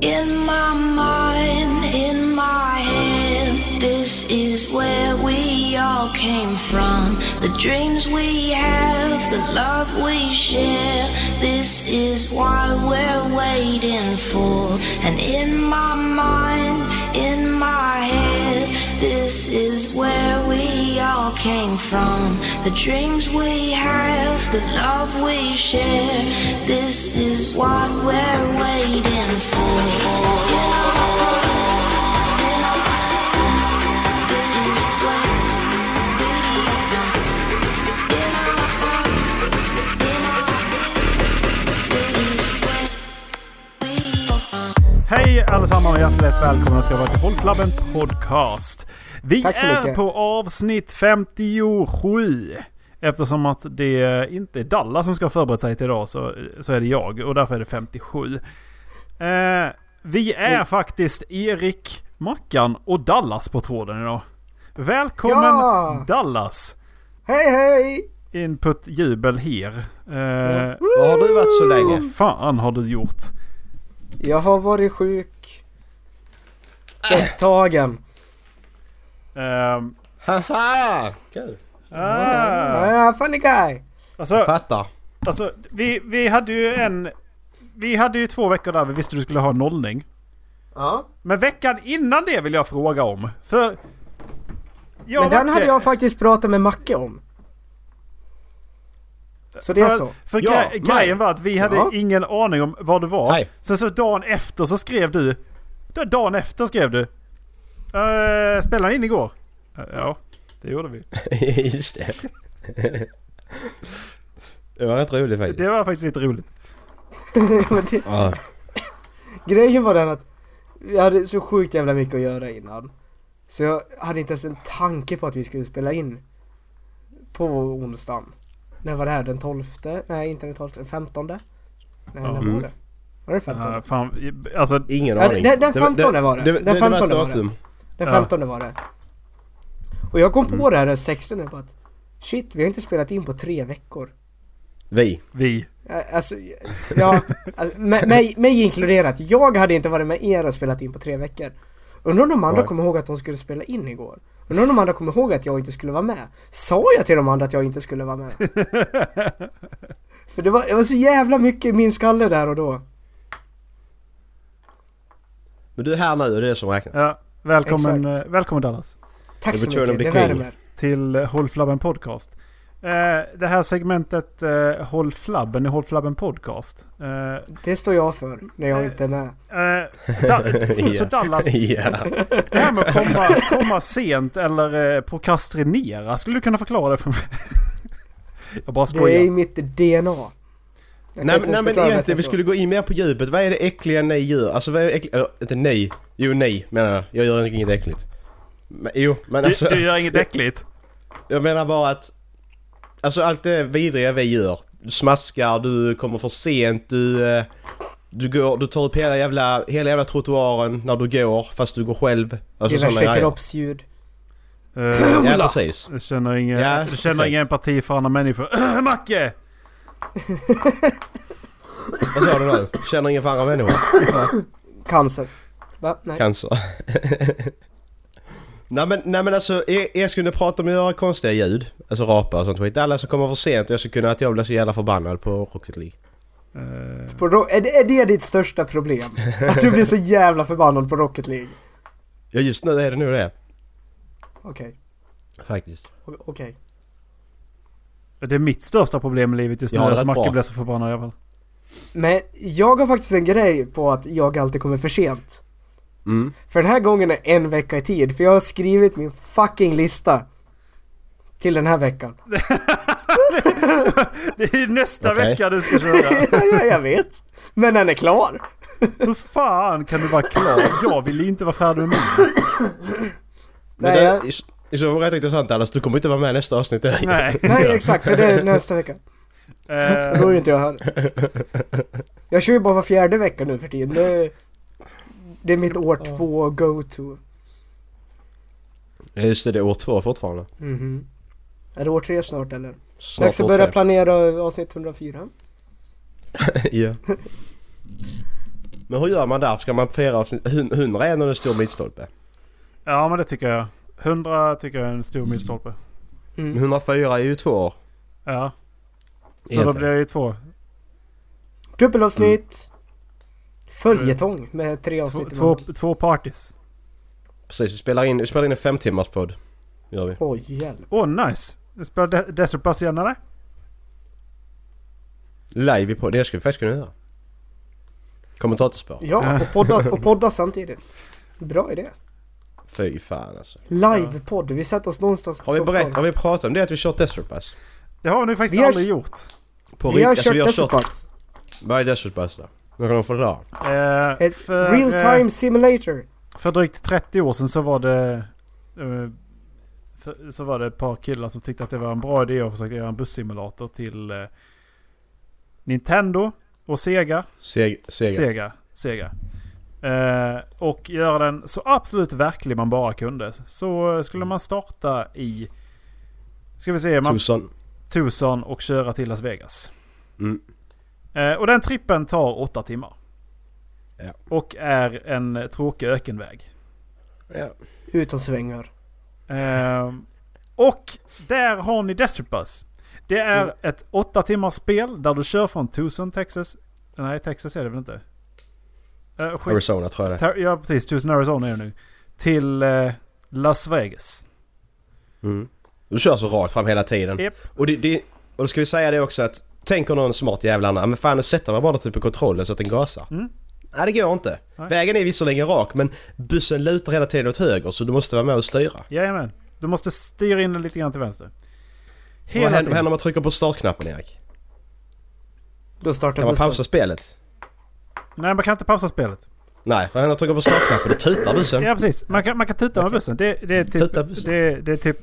In my mind, in my head, this is where we all came from. The dreams we have, the love we share, this is what we're waiting for. And in my mind, in my head, this is where we all came from. The dreams we have, the love we share, this is what we're waiting for. Hej allesammans och hjärtligt välkomna ska vara till Folkflabben Podcast. Vi Tack så är mycket. på avsnitt 57. Eftersom att det inte är Dalla som ska ha förberett sig till idag så, så är det jag och därför är det 57. Eh, vi är Mm. faktiskt Erik, Mackan och Dallas på tråden idag. Välkommen Ja! Dallas! Hej hej! Input jubel här. Eh, Var har du varit så länge? vad fan har du gjort? Jag har varit sjuk. Upptagen. Ehm, Haha! Kul! ah, Ah, funny guy! alltså, Fattar. Alltså, vi, vi hade ju en... Vi hade ju två veckor där vi visste du skulle ha en nollning. Ja. Men veckan innan det vill jag fråga om. För... Jag Men och den Macke- hade jag faktiskt pratat med Macke om. Så det är För, så. för Ja, gre- nej. grejen var att vi hade Ja. ingen aning om vad det var. Nej. Sen så dagen efter så skrev du... då- Dagen efter skrev du... Uh, spelade ni in igår? Eh, ja, det gjorde vi. Just det. Det var rätt roligt faktiskt. Det var faktiskt lite roligt. Men det- Ja. Grejen var den att jag hade så sjukt jävla mycket att göra innan. Så jag hade inte ens en tanke på att vi skulle spela in på onsdagen. När var det här? Den 12? Nej, inte den 12, den 15? Nej, Ja. när var Mm. det? Var det 15? Uh, fan, alltså, Ingen Ja, aning. den- den Det var- 15 var det. Det, Den det, det var 15 ett var det. datum. Den Ja. 15 var det. Och jag kom på det här den 16 på att shit, vi har inte spelat in på tre veckor. Vi. vi. Ä- Alltså, ja, alltså, m- mig, mig inkluderat. Jag hade inte varit med er och spelat in på tre veckor. Undrar om de andra Nej. kommer ihåg att de skulle spela in igår? Undrar om de andra kommer ihåg att jag inte skulle vara med? Sa jag till de andra att jag inte skulle vara med? För det var, det var så jävla mycket i min skalle där och då. Men du är här nu och det är det som räknas. Ja, välkommen, Exakt. eh, välkommen Dallas. Tack Det så var turen mycket, det att bli king. värmer. till eh, Håll Flabben Podcast. Eh, det här segmentet eh, Håll Flabben i Håll Flabben Podcast. Eh, Det står jag för när jag inte är med. eh, da- Så Ja. Dallas, Ja. det här med att komma, komma sent eller eh, prokrastinera, skulle du kunna förklara det för mig? Jag bara Det är i skojar. mitt DNA. Jag kan inte Nej, ens men- nej men förklara bättre egentligen vi så. skulle gå in mer på djupet. Vad är det äckliga ni gör? Alltså vad är det äckliga... eller, Inte ni. Jo ni menar jag. Jag gör inget äckligt. Men, jo men alltså. du, du gör inget äckligt? Jag menar bara att... Alltså allt det vidriga vi gör. Du smaskar, du kommer för sent, du... eh, Du, går, du tar upp hela jävla, hela jävla trottoaren när du går fast du går själv. Alltså sådana diverse grejer. kroppsljud. Eh, Ja precis. du känner ingen, Ja, du känner exakt. ingen empati för andra människor. Macke! Vad sa du nu? Känner ingen för andra människor? Cancer. Va? Nej. Cancer. nej, men, nej men alltså jag, jag skulle kunna prata om att göra konstiga ljud. Alltså rapa och sånt skit. Alla som kommer för sent och jag skulle kunna att jag blir så jävla förbannad på Rocket League. Eh, På ro- är, det, är det ditt största problem? Att du blir så jävla förbannad på Rocket League? Ja just nu är det nog det. Okej. Faktiskt. O- Okej. det är mitt största problem i livet just nu, Ja, det är att rätt Macke bra. blir så förbannad i alla fall. Men jag har faktiskt en grej på att jag alltid kommer för sent. Mm. För den här gången är en vecka i tid, för jag har skrivit min fucking lista. Till den här veckan. Det är nästa Okej. vecka du ska köra. ja, jag vet. Men den är klar. Hur fan kan du vara klar? Jag vill ju inte vara färdig med min. Men Nej, det jag- är i så fall rätt intressant Dallas, du kommer inte vara med i nästa avsnitt. Nej. Nej, exakt, för det är nästa vecka. Eh, Då är ju inte jag här. Jag kör ju bara var fjärde vecka nu för tiden. Det är, det är mitt år två go-to. Ja, Just det, det är år två fortfarande. Mhm. Är det år tre snart eller? Snart Dags att år börja tre. planera avsnitt 104. ja. Men hur gör man där? Ska man fira avsnitt 100 är när det står milstolpe? Ja men det tycker jag. 100 tycker jag är en stor milstolpe. Men Mm. 104 är ju två år. Ja. Så då Egentligen. blir det ju två. Dubbelavsnitt. Följetong med tre Två, avsnitt. två, emellan. två parties. Precis, vi spelar in, vi spelar in en femtimmarspodd. Gör vi. Oj hjälp. Åh oh, nice! Vi spelar De- Desert Bus igen eller? Live i podd. Det ska vi faktiskt kunna göra. Kommentatorspår. Ja, och podda, och podda samtidigt. Bra idé. Fy fan alltså. Livepodd. Vi sätter oss någonstans på Har vi, Stockholm. berätt, har vi pratat om det att vi kört Desert Bus? Det har ni faktiskt Vi har- aldrig gjort. På Vi rikt- har alltså, kört Desert Bus. Vad är Desert Bus då? Nu kan de förklara. Eh, Ett för, real eh, time simulator. för drygt 30 år sedan så var det... Eh, för, så var det ett par killar som tyckte att det var en bra idé att försöka göra en bussimulator till eh, Nintendo och Sega. Seg, Sega. Sega. Sega. Eh, och göra den så absolut verklig man bara kunde. Så eh, Mm. skulle man starta i... Ska vi se, man Tucson. Tucson och köra till Las Vegas. Mm. Eh, och den trippen tar åtta timmar. Ja. Och är en tråkig ökenväg. Ja. Utan svängar. Ehm, och där har ni Desert Bus. Det är Mm. ett åtta timmars spel där du kör från Tucson, Texas. Nej, Texas är det väl inte? Eh, skit. Arizona tror jag det är. Ter- ja, precis. Tucson, Arizona är det nu. Till eh, Las Vegas. Mm. Du kör så rakt fram hela tiden. Japp. Och, det, det, och då ska vi säga det också att tänk om någon smart jävla annan, men fan nu sätter man bara typ på kontrollen så att den gasar. Mm. Nej det går inte. Nej. Vägen är visserligen rak men bussen lutar hela tiden åt höger så du måste vara med och styra. Jajamän. Du måste styra in den lite grann till vänster. Vad Hela händer, vad tiden. händer om man trycker på startknappen Erik? Då startar Kan man bussen. pausa spelet? Nej, man kan inte pausa spelet. Nej, vad händer om man trycker på startknappen? Då tutar bussen. Ja precis, man kan, man kan tuta med bussen. Det, det, är Tuta typ, bussen. det, det, är typ,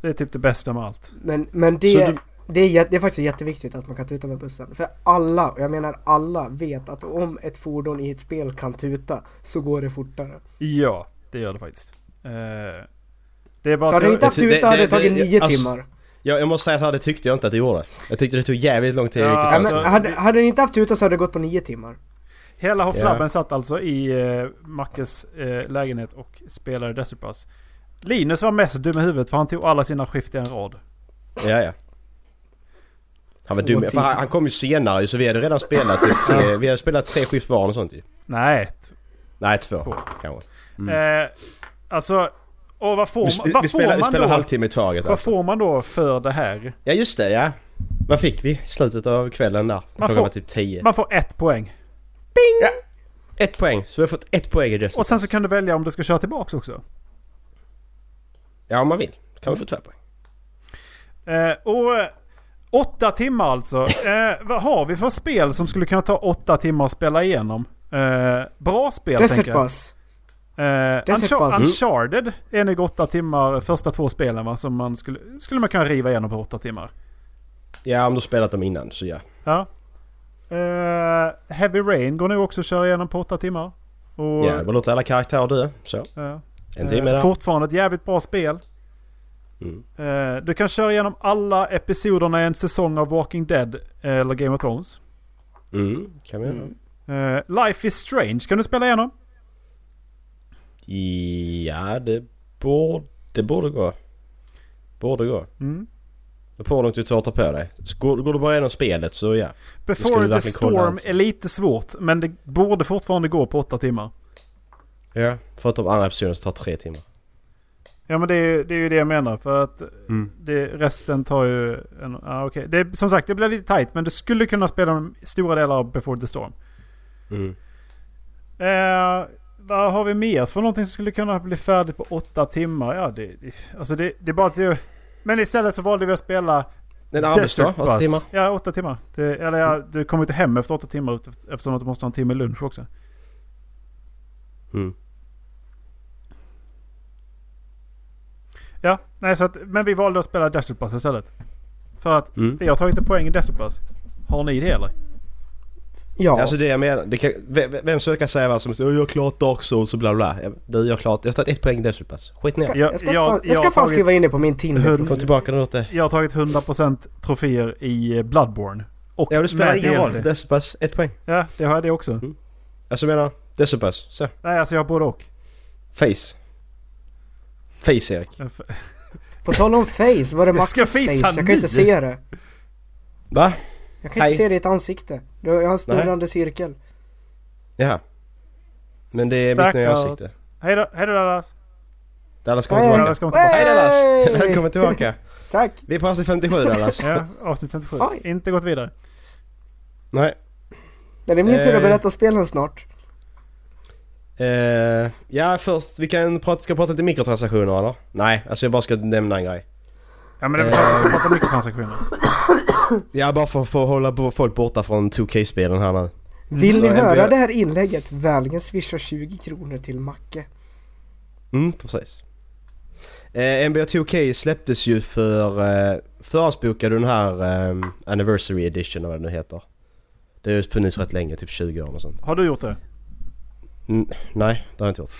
det är typ det bästa med allt. Men, men det, Så du- det, är, jät- det är faktiskt jätteviktigt att man kan tuta med bussen. För alla, och jag menar alla, vet att om ett fordon i ett spel kan tuta så går det fortare. Ja, det gör det faktiskt. Eh, det är Så bara hade det inte till, haft det- tuta hade det det- tagit det- nio alltså- timmar. Jag, jag måste säga så här, det tyckte jag inte att det gjorde. Jag tyckte det tog jävligt lång tid i Ja, vilket Ja, fall. alltså- men hade, hade det inte haft tuta så hade det gått på nio timmar. Hela Hofflabben Ja. satt alltså i eh, Mackes eh, lägenhet och spelade Desert Bus. Linus var mest dum i huvudet för han tog alla sina skift i en rad. Ja, ja. Han var Två dum. För timmar. han, han kom ju senare så vi hade redan spelat typ tre, vi hade spelat tre skift var och sånt ju. Nej. t- Nej, två, Två. kanske. Eh, alltså, och vad får, Mm. man- Vi, sp- vad vi får spelar, vi man spelar då? halvtimme i taget Vad alltså. får man då för det här? Ja, just det ja. Vad fick vi i slutet av kvällen där? Klockan får- var typ tio. Man får ett poäng. Ett poäng. Så vi har fått ett poäng i Och Desert. sen så kan du välja om du ska köra tillbaks också. Ja, om man vill. Kan man få två poäng. Eh, och eh, åtta timmar alltså. Eh, vad har vi för spel som skulle kunna ta åtta timmar att spela igenom? Eh, bra spel Desert tänker jag. Bus. Eh, Desert Uncha- Bus. Uncharted är nog åtta timmar, eh, första två spelen va, som man skulle, skulle man kunna riva igenom på åtta timmar. Ja, om du har spelat dem innan så ja. Ja. Eh, Heavy Rain går nog också att köra igenom på åtta timmar. Och, Ja, bara låta alla karaktärer dö. Så. ja. En Eh, timme där. Fortfarande ett jävligt bra spel. Mm. Eh, du kan köra igenom alla episoderna i en säsong av Walking Dead eh, eller Game of Thrones. Mm, kan vi göra. Eh, Life is Strange kan du spela igenom. Ja, det borde, det borde gå. Borde gå. Mm. Det på hur långt du tar att ta på dig. Så Går, går du bara igenom spelet så ja. ska vi Before the verkligen kolla Storm alltså. är lite svårt, men det borde fortfarande gå på åtta timmar. Ja. Förutom andra episoden som tar tre timmar. Ja men det är, ju- det är ju det jag menar för att det, resten tar ju... En, ah, okay. det, är- som sagt, det blir lite tight men du skulle kunna spela de stora delar av Before the Storm. Mm. Eh, vad har vi mer för någonting som skulle kunna bli färdigt på åtta timmar? Ja, det, det, alltså det, det är bara att... det- Men istället så valde vi att spela En arbetsdag, Desert åtta Bus. timmar. Ja, åtta timmar. Det, eller ja, du kommer inte hem efter åtta timmar ut- eftersom att du måste ha en timme lunch också. Mm. Ja, nej så att, men vi valde att spela Desert Bus istället. För att Mm. vi har tagit en poäng i Desert Bus. Har ni det eller? Ja. Alltså det jag menar, det kan, vem, vem som kan säga vad som helst. "Åh, Jag har klart Dark Souls och bla bla. bla." Ja, Du, jag har klart, jag har tagit ett poäng i Desert Bus. Skit ner. jag- jag ska, jag- fan, jag ska jag har fan tagit- skriva in det på min Tinder. Hund- Kom tillbaka när du åt det. Jag har tagit 100% troféer i eh, Bloodborne. Och Ja, det spelar med ingen roll. DLC. Desert Bus, ett poäng. Ja, det har jag det också. Alltså jag menar, det är så pass. Så. Nej, alltså jag har både och. Face. Face Erik. På tal om face, var det Jag Max ska face? fejsa Jag kan nu. inte se det. Va? Jag kan inte Hej. se ditt ansikte. Du- Jag har en snurrande cirkel. Jaha. Men det är mitt nya Stackars. ansikte. Hej då, hej då Dallas. Dallas kommer Hej. tillbaka. Dallas kommer tillbaka. Hej Dallas! Hej! Välkommen tillbaka. Tack! Vi passar 57 Dallas. Ja, avsnitt 57. Oj. Inte gått vidare. Nej. Det är min tur Eh. att berätta spelen snart. Eh, ja först, vi kan prata, ska prata lite mikrotransaktioner eller? Nej, alltså jag bara ska nämna en grej. Ja men det är klart att vi ska prata mycket transaktioner. Ja bara för, för att hålla bo- folk borta från 2K-spelen här nu. Vill Så ni en höra början. det här inlägget? Välgen swishar 20 kronor till Macke. Mm, precis. Eh, NBA 2K släpptes ju för... Eh, förhandsbokade den här eh, Anniversary Edition eller vad det nu heter. Det har ju funnits rätt länge, typ 20 år och sånt. Har du gjort det? Mm, nej, det har jag inte gjort.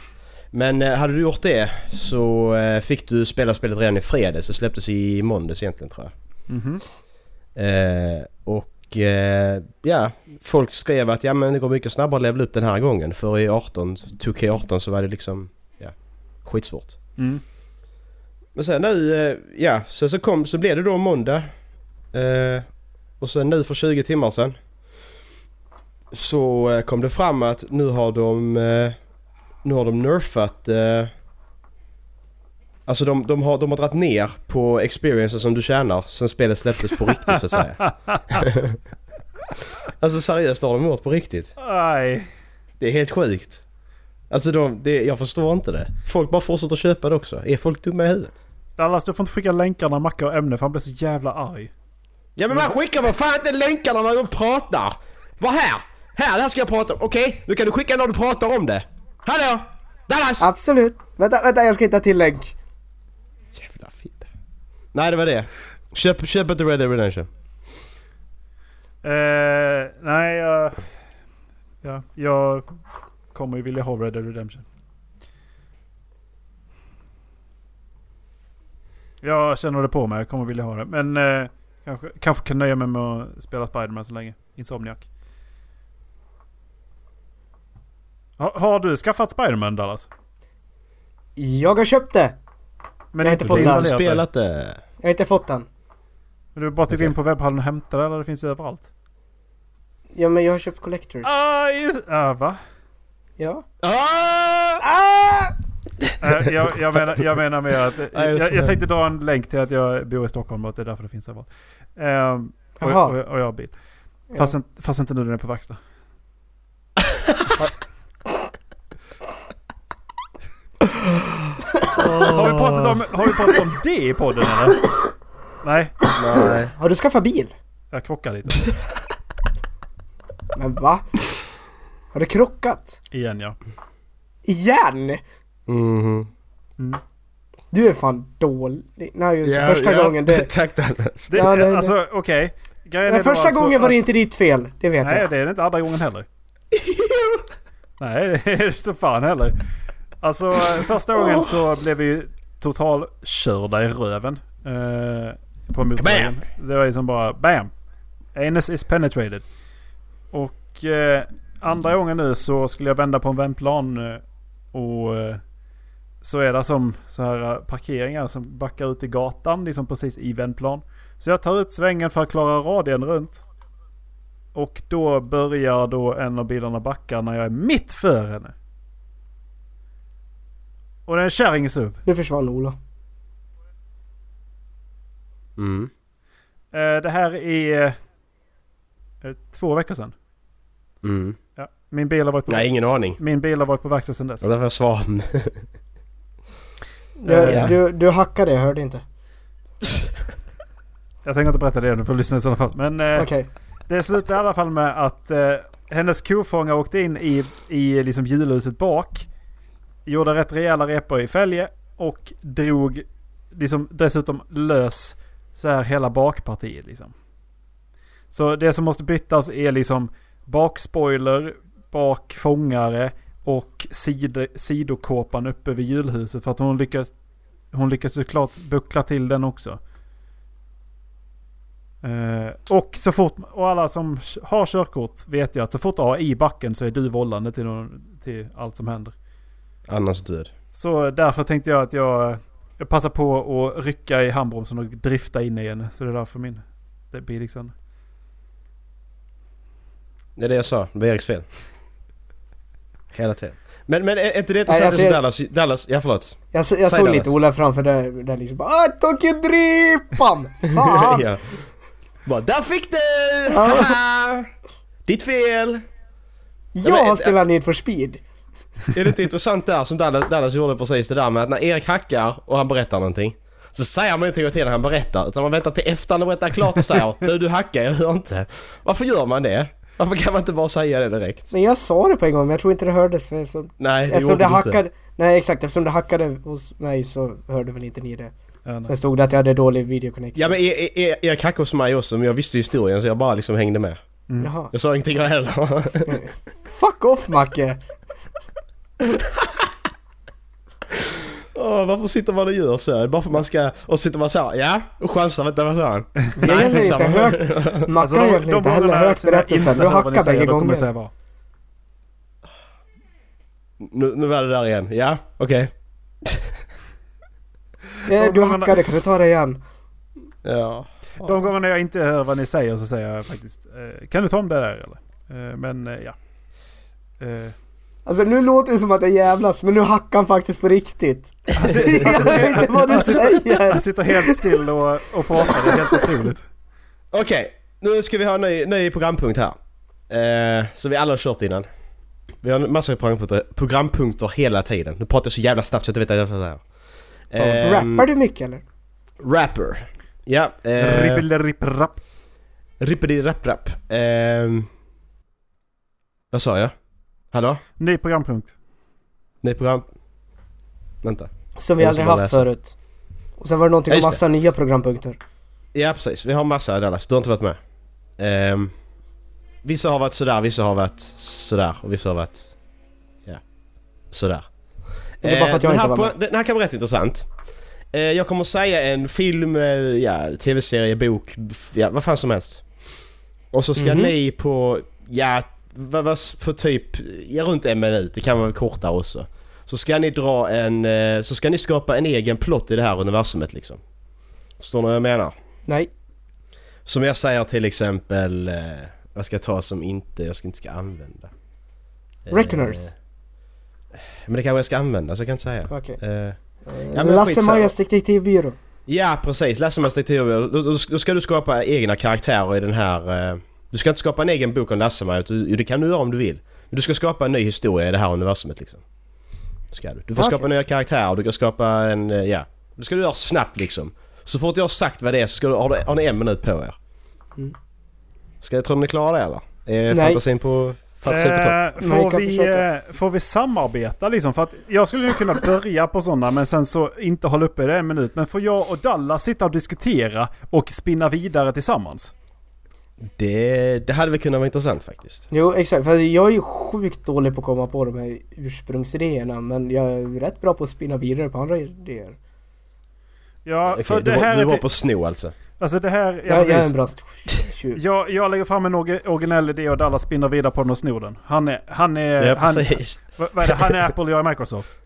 Men eh, hade du gjort det så eh, fick du spela spelet redan i fredags. Det släpptes i måndags egentligen tror jag. Mm-hmm. Mhm. Eh, och eh, ja, folk skrev att ja men det går mycket snabbare att levla upp den här gången. För i 18, 2K18 så var det liksom, ja, skitsvårt. Mm. Men sen nu, eh, ja, sen så kom, så blev det då måndag. Eh, och sen nu för 20 timmar sen. Så eh, kom det fram att nu har de, eh, nu har de nerfat, eh, alltså de, de har, de har dragit ner på experiencen som du tjänar sen spelet släpptes på riktigt så att säga. alltså seriöst har de gjort på riktigt. Aj. Det är helt sjukt. Alltså de, det, jag förstår inte det. Folk bara fortsätter köpa det också. Är folk dumma i huvudet? Dallas du får inte skicka länkar när Macke har ämne för han blir så jävla arg. Ja men man skickar vad fan inte länkar när man pratar! Vad här! Här, det här ska jag prata om. Okej, nu kan du skicka när du pratar om det. Hallå! Dallas! Absolut! Vänta, vänta jag ska hitta till länk. Jävla fitta. Nej det var det. Köp, köp inte Red Dead Redemption. Eh, nej, jag... Ja, jag kommer ju vilja ha Red Dead Redemption. Jag känner det på mig, jag kommer vilja ha det. Men eh, kanske, kanske kan nöja mig med att spela Spiderman så länge. Insomniac. Ha, har du skaffat Spiderman Dallas? Jag har köpt det! Men Jag har inte Du fått har den. inte installerat det? spelat det. Jag har inte fått den. Men du bara att gå Okej. in på webbhallen och hämta det eller det finns ju överallt? Ja men jag har köpt Collectors. Ah, just, ah va? Ja. Ah! Eh, jag, jag, menar, jag menar mer att... det är så jag, jag här. tänkte dra en länk till att jag bor i Stockholm och att det är därför det finns överallt. Ehm, och, Jaha. och, och jag har bil. Fast, ja. inte- fast inte nu när den är på Vaxla. har, vi pratat om, har vi pratat om det i podden eller? Nej, Nej. Har du skaffat bil? jag krockar lite. Men va? Har du krockat? Igen ja. Igen? Mhm. Du är fan dålig. Nej just Ja, första ja. gången det... Tack Dallas. Det, Ja, det- alltså okej. Grejen är Men då första alltså gången var det att- inte ditt fel, det vet Nej, jag. det är det inte andra gången heller. Nej, det är det så fan heller. Alltså eh, första gången så blev vi ju totalkörda i röven. Eh, på motorvägen. Det var liksom bara bam! Anus is penetrated. Och eh, andra gången nu så skulle jag vända på en vändplan. Eh, och eh, så är det som så här eh, parkeringar som backar ut i gatan. Liksom precis i vändplan. Så jag tar ut svängen för att klara radien runt. Och då börjar då en av bilarna backa när jag är mitt för henne. Och det är en kärring-SUV. Nu försvann Ola. Mm. Eh, Det här är eh, två veckor sedan. Mm. Ja. Min, bil har varit på, Nej, ingen aning. min bil har varit på verkstad sedan dess. Det var därför jag svarade. Du, Ja. du, du hackade, jag hörde inte. Jag tänker inte berätta det, du får lyssna i sådana fall. Men eh, Okej. det slutade i alla fall med att eh, hennes kofångare åkte in i, i liksom hjulhuset bak. Gjorde rätt rejäla repor i fälge och drog liksom dessutom lös så här hela bakpartiet liksom. Så det som måste bytas är liksom bakspoiler, bakfångare och sid sidokåpan uppe vid hjulhuset för att hon lyckas hon lyckas såklart buckla till den också. Eh, och så fort, och alla som har körkort vet ju att så fort du har i backen så är du vållande till, någon, till allt som händer. Annars död. Så därför tänkte jag att jag, jag passar på att rycka i handbromsen och drifta in i henne. Så det är därför min det blir liksom. Det är det jag sa. Det var Eriks fel. Hela tiden. Men, men är är inte det Nej, jag intressant som ser- Dallas... Dallas... Ja, förlåt. Jag, s- jag Säg såg Dallas. lite Ola framför där, där liksom bara ah, Tokyo Dripan! Fan! ja. Bara, där fick du! Ja. Haha! Ditt fel! Jag men- har spelat Need for Speed. Är det inte intressant där som Dallas, Dallas gjorde precis det där med att när Erik hackar och han berättar någonting så säger man inte till när han berättar utan man väntar till efter han har berättat klart och säger du, du hackar, jag hör inte. Varför gör man det? Varför kan man inte bara säga det direkt? Men jag sa det på en gång men jag tror inte det hördes för så, Nej, det eftersom gjorde Alltså, det du inte. hackade... Nej exakt, eftersom det hackade hos mig så hörde väl inte ni det. Ja, nej. Sen stod det att jag hade dålig videoconnection. Ja men E- E- E- Erik hackade hos mig också men jag visste ju historien så jag bara liksom hängde med. Jaha. Jag sa ingenting jag heller. Fuck off Macke! Åh, varför sitter man och gör så? här? Bara för man ska... Och så sitter man så här, ja? Och chansar, vänta vad sa han? Vi har heller samma. inte hört... Macke har egentligen inte alltså, heller gångerna hört som jag inte berättelsen. Du hör vad ni hackar säger, bägge då kommer jag säga gånger. vad. Nu, nu var det där igen, ja? Okej. Eh, Du De gångerna- hackade, kan du ta det igen? Ja. De gångerna jag inte hör vad ni säger så säger jag faktiskt eh, Kan du ta om det där eller? Eh, men eh, ja. Eh, Alltså nu låter det som att jag jävlas men nu hackar han faktiskt på riktigt. han, sitter, Jag han, hör inte sitter, vad du han säger! sitter helt still och, och pratar. Det är helt otroligt. Okej, nu ska vi ha en ny, ny programpunkt här. Eh, så vi alla har kört innan. Vi har en massa programpunkter, programpunkter hela tiden. Nu pratar jag så jävla snabbt så jag inte vet vad jag ska säga. Eh, Rappar du mycket eller? Rapper. Ja. Eh, Rippel-ripp-rapp. Rippedi rapp rapp. Ehm, vad sa jag? Hallå? Ny programpunkt. Ny program... Vänta. Som vi Jag måste aldrig bara haft läsa. förut. Och sen var det någonting Ja, om just massa nya programpunkter. Ja precis, vi har massa Dallas. Du har inte varit med. Ehm, vissa har varit sådär, vissa har varit sådär och vissa har varit... Ja. Sådär. Men det är bara för att jag den inte Eh, här, var på- Den här kan vara rätt intressant. Eh, jag kommer säga en film, eh, ja, tv-serie, bok, f- ja, vad fan som helst. Och så ska Mhm. ni på, ja, vad, vad s- på typ, ja, runt en minut, det kan vara kortare också. Så ska ni dra en, eh, så ska ni skapa en egen plott i det här universumet liksom. Förstår ni vad jag menar? Nej. Som jag säger till exempel, eh, vad ska jag ta som inte, jag ska inte ska använda? Eh, Reckoners. Men det kanske jag ska använda så jag kan inte säga. Okej. Eh, Okay. men Lasse skitsamma. Majas detektivbyrå. Ja precis, läser man Stativer, då, då, då ska du skapa egna karaktärer i den här... Eh, du ska inte skapa en egen bok om Lasse-Maja, utan- det kan du göra om du vill. Men du ska skapa en ny historia i det här universumet liksom. Ska du. du får Okej. skapa nya karaktärer, du kan skapa en... eh, Ja. Det ska du göra snabbt liksom. Så fort jag har sagt vad det är så ska du, har, du, har ni en minut på er. Mm. Ska jag tro ni klarar det eller? Är Nej. fantasin på... Fantasin på topp? Eh, Nej, jag får, kan vi, försöka. eh, får vi samarbeta liksom? För att jag skulle ju kunna börja på sådana men sen så inte hålla uppe det en minut. Men får jag och Dallas sitta och diskutera och spinna vidare tillsammans? Det, det hade väl kunnat vara intressant faktiskt. Jo exakt, för jag är ju sjukt dålig på att komma på de här ursprungsidéerna men jag är rätt bra på att spinna vidare på andra idéer. Ja, Okej, för du, det var- här du är... var till- på sno alltså. Alltså det här... Ja, Jag, jag är en precis. bra st- tjuv. Jag, jag lägger fram en orgi- originell idé och Dallas spinner vidare på den och snor den. Han är... Han är... Ja Eh, han, precis. vad vad är det? Han är Apple och jag är Microsoft.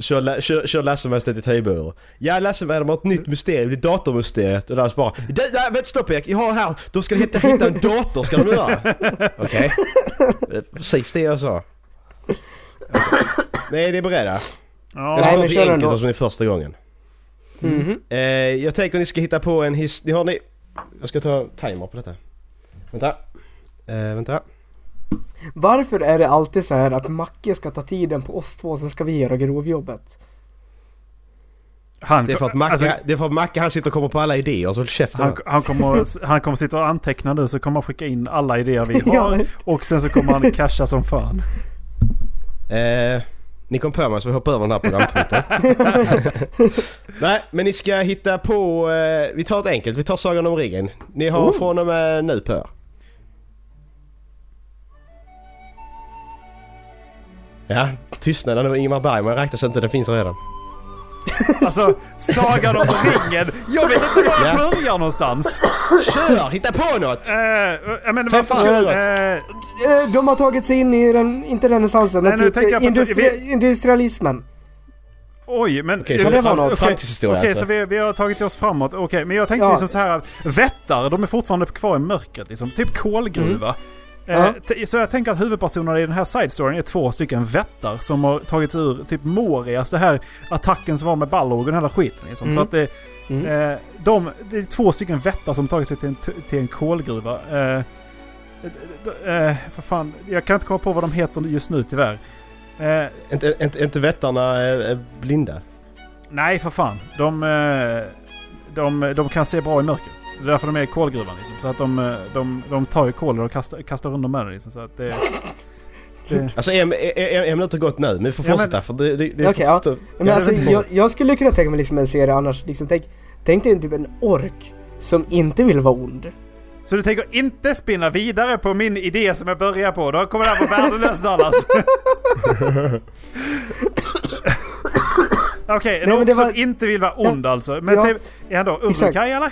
Kör, la- kör, kör Lasse-Majas detektivbyrå. Ja Lasse-Maja, de har ett nytt mysterium, det är datormysteriet. Och Lasse bara "Du, nej, vänta stopp Erik, jag har här, de ska hitta, hitta en dator ska de göra. Okej. Det är Precis det jag sa. Nej, ni är beredda? Jag Ja. ska Nej, ta men till kör den enkelt då. som ni första gången. Mhm. Eh, jag tänker ni ska hitta på en his... Ni har ni... Jag ska ta timer på detta. Vänta. Eh, vänta. Varför är det alltid så här att Macke ska ta tiden på oss två sen ska vi göra grovjobbet? Han, Det är för att Macke, alltså, det är för att Macke han sitter och kommer på alla idéer, så håll käften. han, han, kommer, han kommer sitta och anteckna nu så kommer han skicka in alla idéer vi har. Och sen så kommer han casha som fan. Eh, ni kom på mig så vi hoppar över den här programpunkten. Nej, men ni ska hitta på... Eh, vi tar ett enkelt. Vi tar Sagan om ringen. Ni har Oh. från och med nu på er. Ja, tystnaden och Ingmar Bergman räknas inte. Den finns redan. Alltså, Sagan om ringen. Jag vet inte var jag Ja. börjar någonstans. Kör! Hitta på något! Eh, jag menar, Fan, vad fan... vad eh, Eh, De har tagit sig in i den, inte renässansen, Nej, men nu typ tänker jag på- industri, industrialismen. Oj, men... eh, Okej, så det det var var något. något. Framtidshistoria Okej, alltså. så vi, vi har tagit oss framåt. Okej, men jag tänkte Ja. liksom så här att vättare, de är fortfarande kvar i mörkret liksom. Typ kolgruva. Eh, Mm. Ja. t- så jag tänker att huvudpersonerna i den här side-storyn är två stycken vättar som har tagits ur typ Morias, det här attacken som var med Balrog och den hela skiten liksom. Mm. För att det, Mm. eh, de, det är två stycken vättar som tagit sig till en, t- till en kolgruva. Eh, d- eh, för fan, jag kan inte komma på vad de heter just nu tyvärr. Eh, Inte, inte, inte vättarna eh, eh, blinda? Nej, för fan. De, eh, de, de kan se bra i mörker. Det är därför de är i kolgruvan. Liksom. Så att de, eh, de, de tar ju kolen och kastar, kastar undan med den. Liksom. Så att det, det, Alltså em- em- em- ämnet har gått nu, men vi får Ja, men- fortsätta för det, det, det är Okej, faktiskt- Men Ja, alltså, det är jag, jag skulle kunna tänka mig liksom en serie annars, liksom tänk, tänk dig typ en ork som inte vill vara ond. så du tänker inte spinna vidare på min idé som jag började på? Då kommer det här vara värdelöst Dallas. Okej, men någon det som var- inte vill vara ond alltså. Men Ja. typ, är han då Exakt. Urukaj eller?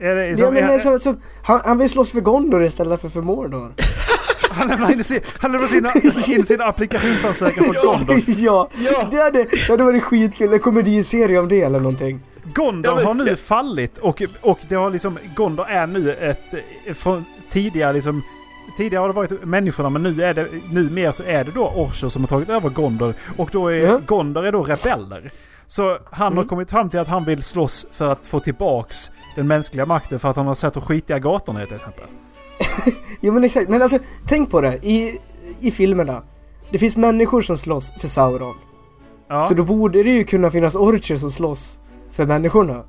Är det, Ja, som, men, är, han- alltså, så, han, han vill slåss för Gondor istället för för Mordor. han lämnar in sin, han lämnar sin, in sin applikationsansökan för Gondor. ja, Ja. Det, hade, det hade varit skitkul, en komediserie om det eller någonting. Gondor Ja, men- har nu fallit och, och det har liksom, Gondor är nu ett, från tidigare liksom, tidigare har det varit människorna men nu är det, numera så är det då Orcher som har tagit över Gondor och då är, Ja. Mm. Gondor är då rebeller. Så han har kommit fram till att han vill slåss för att få tillbaks den mänskliga makten för att han har sett hur skitiga gatorna är till exempel. Ja men exakt, men alltså tänk på det i, i filmerna. Det finns människor som slåss för Sauron. Ja, Så då borde det ju kunna finnas orcher som slåss för människorna.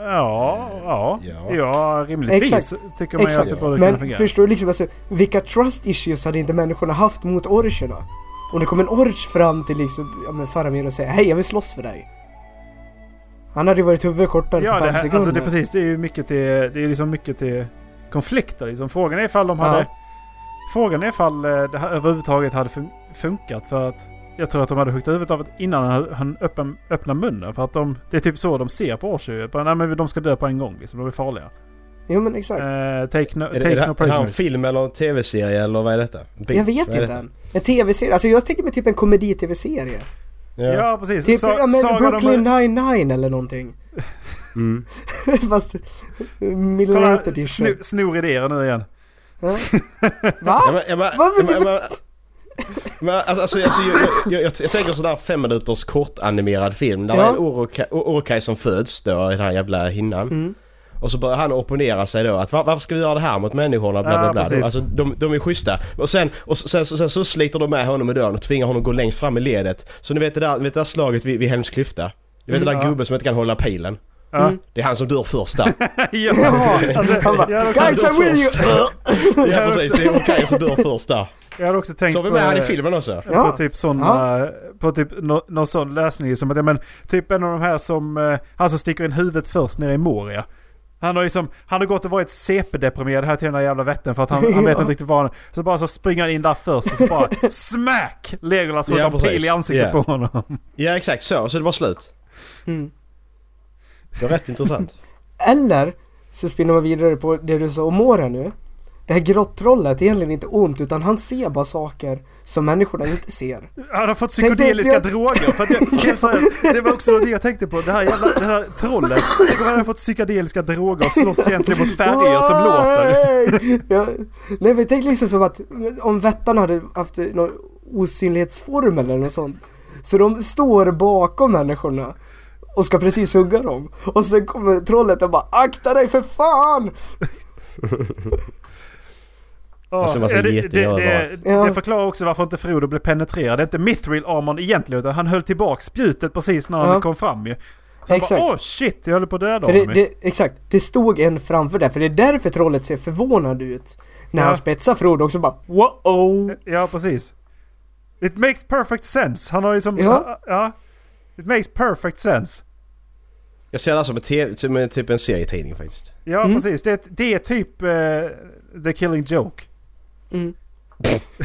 ja, ja, ja. Ja. rimligtvis Exakt. tycker man ju att Exakt. det borde kunna Men fungera. förstår du liksom alltså, vilka trust issues hade inte människorna haft mot orcherna? Om det kom en orch fram till liksom, ja men Faramir och säger hej jag vill slåss för dig. Han hade ju varit huvudet kortare Ja, på det, fem här, sekunder. alltså det är precis. Det är ju mycket till, det är liksom mycket till konflikter liksom. Frågan är ifall de Ja. hade... Frågan är ifall eh, det här överhuvudtaget hade fun- funkat för att... Jag tror att de hade huggit huvudet av det innan han, han öppen, öppnade munnen. För att de, det är typ så de ser på Orcher. Bara, Nej men de ska dö på en gång liksom. De är farliga. Jo men exakt. Eh, take no, Är det, är det take no här är det här en prisoners. film eller en tv-serie eller vad är detta? En bit? jag vet Vad är inte detta? än. En tv-serie, alltså jag tänker mig typ en komedi-tv-serie. Ja. Ja precis. Typ, Sa- ja men Sagan om- Brooklyn 99 eller någonting. Mm. Fast Kolla, millimeter edition. sno- snor idéer nu igen. Ja. Va? Ja, men, ja, men, Vad vill ja, du- men, ja, men, men, alltså, alltså, alltså, jag, jag, jag, jag, jag tänker sådär fem minuters kortanimerad film. Där Ja. är en Oroka- O- Orokaj som föds då i den här jävla hinnan. Mm. Och så börjar han opponera sig då att "Va- varför ska vi göra det här mot människorna? Bla, Ja, bla, bla. precis. alltså, de, de är schyssta. Och sen, och sen, sen, så- sen så sliter de med honom i dörren och tvingar honom att gå längst fram i ledet. Så ni vet det där, ni vet det där slaget vid, vid Helms klyfta? Du vet Mm, den där ja. gubben som inte kan hålla pilen? Ja. Mm. Det är han som dör först där. ja. Alltså, Han bara, jag hade också- Guys, I will you! ja precis, det är Orokaj som dör först där. Jag hade också tänkt Så har vi med han i eh, filmen också. Ja. På typ sådana, på typ nå- någon sån lösning som att, ja men typ en av de här som, eh, han som sticker in huvudet först nere i Moria. Han har liksom, han har gått och varit CP-deprimerad här till den där jävla vätten för att han, han vet Ja. inte riktigt vad han... Så bara så springer han in där först och så bara smack! Legolas får Ja, en pil precis. i ansiktet Ja. på honom. Ja exakt så, så det var slut. Mm. Det var rätt intressant. Eller så spinner man vidare på det du sa om Mora nu. Det här grottrollet är egentligen inte ont utan han ser bara saker som människorna inte ser. Han har fått Tänk dig- psykedeliska droger. För att jag, helt seriöst, det var också något jag tänkte på. Det här jävla det här trollet. Tänk om han hade fått psykedeliska droger och slåss egentligen mot färger som låter. ja. Nej men tänk liksom som att om vättarna hade haft någon osynlighetsform eller något sånt. Så de står bakom människorna och ska precis hugga dem. Och sen kommer trollet och bara akta dig för fan! Ja, Alltså, massa ja, det, det, getingar det, överallt. Ja. det förklarar också varför inte Frodo blev penetrerad. Det är inte mithril armorn egentligen, utan han höll tillbaka spjutet precis när han Ja. kom fram ju. Så han Exakt. bara åh shit, jag höll på att döda För det, honom. ju." det, exakt, det stod en framför där, för det är därför trollet ser förvånad ut. När Ja. han spetsar Frodo också bara wow Ja, precis. It makes perfect sense. Han har ju som... Ja. Ja. ja. It makes perfect sense. Jag ser det här som, en TV, som en- typ en serietidning faktiskt. Ja, Mm. precis. Det, det är typ eh, The Killing Joke.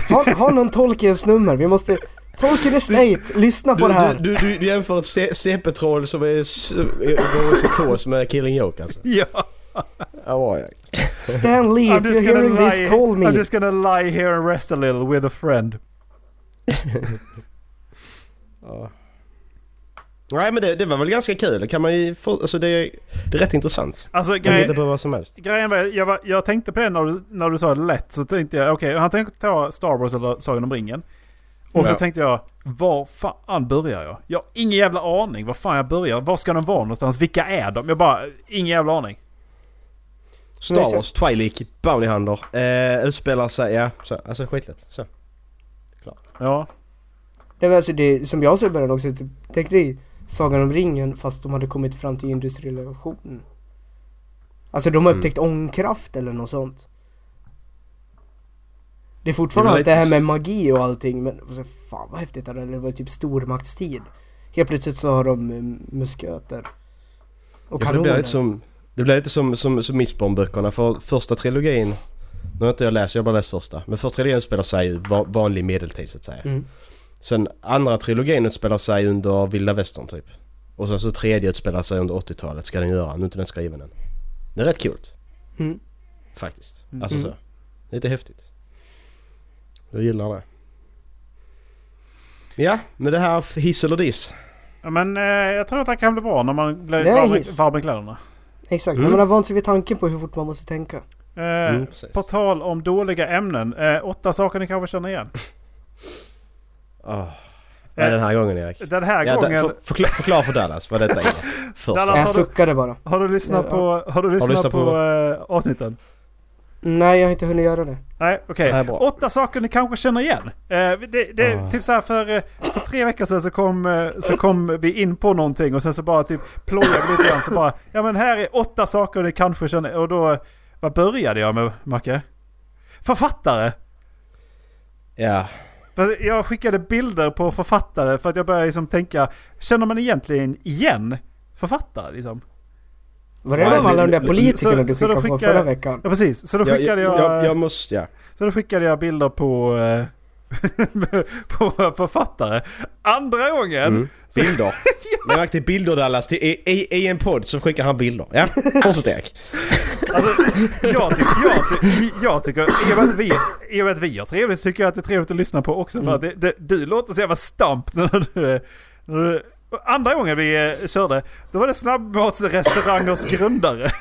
Ha, ha någon Tolkiens nummer, vi måste Talk to the state, lyssna på det Du, här. du, du, du jämför ett C- CP-troll som är s- är psykos med Killing Joke alltså. Ja, Ja, var jag. Stan Lee, if I'm you're just, gonna hearing this, lie, call me. I'm just gonna lie here and rest a little with a friend. Ja. Nej men det, det var väl ganska kul. Det Kan man ju få, alltså det, är- det är rätt intressant. Alltså Man grej, hittar på vad som helst. grejen var, jag, var, jag tänkte på det när du, när du sa lätt så tänkte jag okej, han tänkte ta Star Wars eller Sagan om ringen. Och Ja. då tänkte jag, var fan börjar jag? Jag har ingen jävla aning var fan jag börjar. Var ska de vara någonstans? Vilka är de? Jag bara, ingen jävla aning. Star Wars, Twilight, Bounty Hunter. Eh, utspelar sig, ja. Så, alltså skitlätt. Så. Ja, Nej, men alltså det, som jag såg i början också, typ, tänk dig Sagan om ringen fast de hade kommit fram till industriell revolution. Alltså de har Mm. upptäckt ångkraft eller något sånt. Det är fortfarande Det är allt det här lite- med magi och allting men alltså, fan vad häftigt det hade varit. det var typ stormaktstid. Helt plötsligt så har de eh, musköter. Och Ja, för det blir kanoner. lite som, det blir lite som, som, som Mistborn-böckerna. För första trilogin, nu har inte jag läst, jag har bara läst första. Men första trilogin utspelar sig i va- vanlig medeltid så att säga. Mm. Sen andra trilogin utspelar sig under vilda västern typ. Och sen så tredje utspelar sig under 80-talet ska den göra. Nu är inte den skriven än. Det är rätt kul Mm. faktiskt. Alltså Mm. så. Lite häftigt. Jag gillar det. Ja, men det här f- hiss eller diss. Ja, men eh, jag tror att det kan bli bra när man blir Det är varm, hiss. varm i kläderna. Exakt, Mm. men man har vant sig vid tanken på hur fort man måste tänka. Eh, Mm, precis. på tal om dåliga ämnen, eh, åtta saker ni kanske känner igen. Oh. Vad är den här gången Erik? Den här Ja, da, gången, för, förkla, förklara för Dallas vad detta är. Först. Dallas- Jag Alltså, suckade bara. har du lyssnat Ja. på, har du lyssnat lyssnat på, på- eh, avsnitten? Nej jag har inte hunnit göra det. Nej, okej. Nej, bra. Åtta saker ni kanske känner igen. Eh, det, det, Ah. Typ så här för, eh, för tre veckor sedan så kom, eh, så kom vi in på någonting och sen så bara typ plojade vi lite grann så bara ja men här är åtta saker ni kanske känner och då, eh, vad började jag med Macke? Författare! Ja. För Jag skickade bilder på författare för att jag började liksom tänka, känner man egentligen igen författare liksom? Var det Nej, de alla de där så- så- politikerna du så då skickade på skickar- förra veckan? Ja precis, så då Jag, skickade jag, jag, jag, jag måste, ja. Så då skickade jag bilder på, eh, på författare. Andra gången! Mm. Bilder. Jag märkte bilder Dallas till, i, i, i en podd så skickar han bilder. Ja, fortsätt Erik. Alltså, jag, tycker, jag, ty, jag tycker, i och med att vi, i och med att vi har trevligt så tycker jag att det är trevligt att lyssna på också. För att det, Mm. det, du låter så jävla stamp när du, när du... Andra gången vi eh, körde, då var det snabbmatsrestaurangers grundare.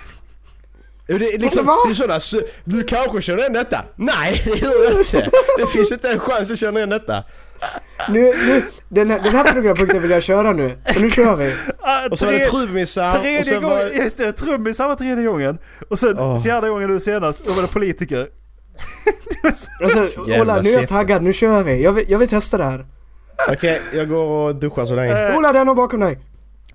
Jo, Det är liksom, Vad? det är sådana, så- du kanske känner igen detta? Nej, det gör jag inte. Det finns inte en chans jag känner igen detta. Nu, nu, den här, den här programpunkten vill jag köra nu, så nu kör vi. Ah, Och så var det tre- trummisar och Tredje sen gången, var just det, trummisar var tredje gången. Och sen Åh. fjärde gången nu senast, då var det politiker. Alltså, Jävla Ola, nu är siffror. jag taggad, nu kör vi. Jag vill, jag vill testa det här. Okej, jag går och duschar så länge. Eh, Ola, det är någon bakom dig.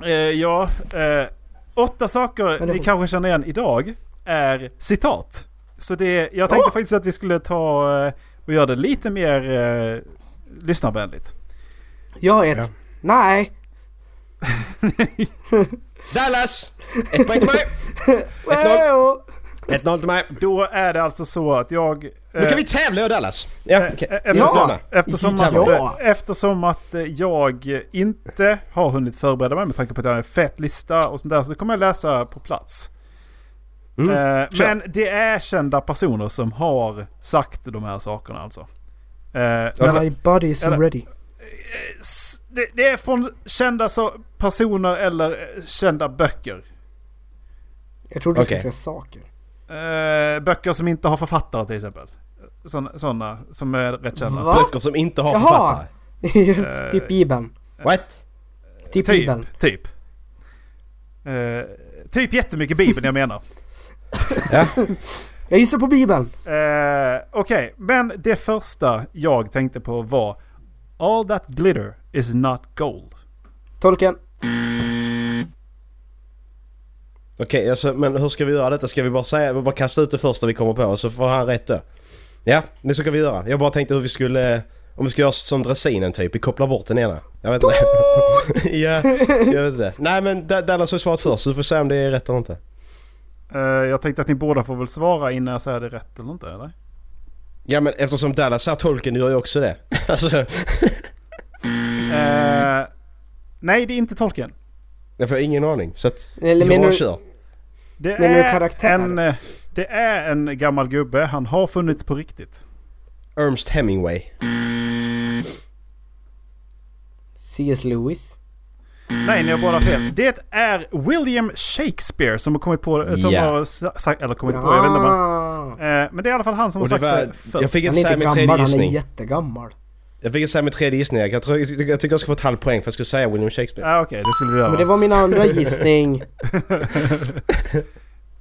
Eh, ja, eh, åtta saker Men det- ni kanske känner igen idag är citat. Så det, jag tänkte faktiskt att vi skulle ta eh, och göra det lite mer eh, lyssnarvänligt. Jag har ett. Ja. Nej. Dallas! Ett poäng till mig! Ett Wow. Ett noll till mig. Då är det alltså så att jag... eh, Nu kan vi tävla jag och Dallas. Ja, eh, okej. eh, Eftersom, Ja! eftersom, att, Ja! eftersom att eh, jag inte har hunnit förbereda mig med tanke på att jag har en fett lista och sånt där så det kommer jag läsa på plats. Mm. Eh, kör. men det är kända personer som har sagt de här sakerna alltså. Eh, men- My body is Eller- ready. S- det, det är från kända så- personer eller eh, kända böcker. Jag trodde du skulle Okej. säga saker. Eh, böcker som inte har författare till exempel. Sådana som är rätt kända. Va? Böcker som inte har Jaha. författare. typ Bibeln. What? Typ, Bibeln. Typ. Typ. Eh, typ jättemycket Bibeln jag menar. Jag gissar på Bibeln. Eh, Okej, men det första jag tänkte på var All that glitter is not gold. Tolken. Okej, alltså, men hur ska vi göra detta? Ska vi bara säga, vi bara kasta ut det första vi kommer på och så får han rätt då? Ja, men så kan vi göra. Jag bara tänkte hur vi skulle, eh, om vi ska göra som dressinen typ, vi kopplar bort den ena. Jag vet inte. ja, jag vet inte. Nej men Da- Dallas har svarat först, så du får säga om det är rätt eller inte. Eh, jag tänkte att ni båda får väl svara innan jag säger det rätt eller inte eller? Ja men eftersom Dallas är tolken gör ju också det. alltså, Eh, nej, det är inte Tolkien. Jag får ingen aning. Så att Eller jag menar du- kör. Det Men med är, karaktär? en, eh, det är en gammal gubbe. Han har funnits på riktigt. Ernst Hemingway. C.S. Lewis? Nej, ni har båda fel. Det är William Shakespeare som har kommit på... eh, Som Ja. har sa- sagt... Eller kommit på, jag vet inte om han... Ah. Eh, Men det är i alla fall han som har Och det sagt var- det först. jag fick Han ett är inte säga min tredje gammal, han är gissning. jättegammal. Jag fick säga min tredje gissning. Jag, tror, jag, tycker- jag tycker jag ska få ett halvt poäng för jag skulle säga William Shakespeare. Ah, Okej, det skulle du göra. Men det var min andra gissning.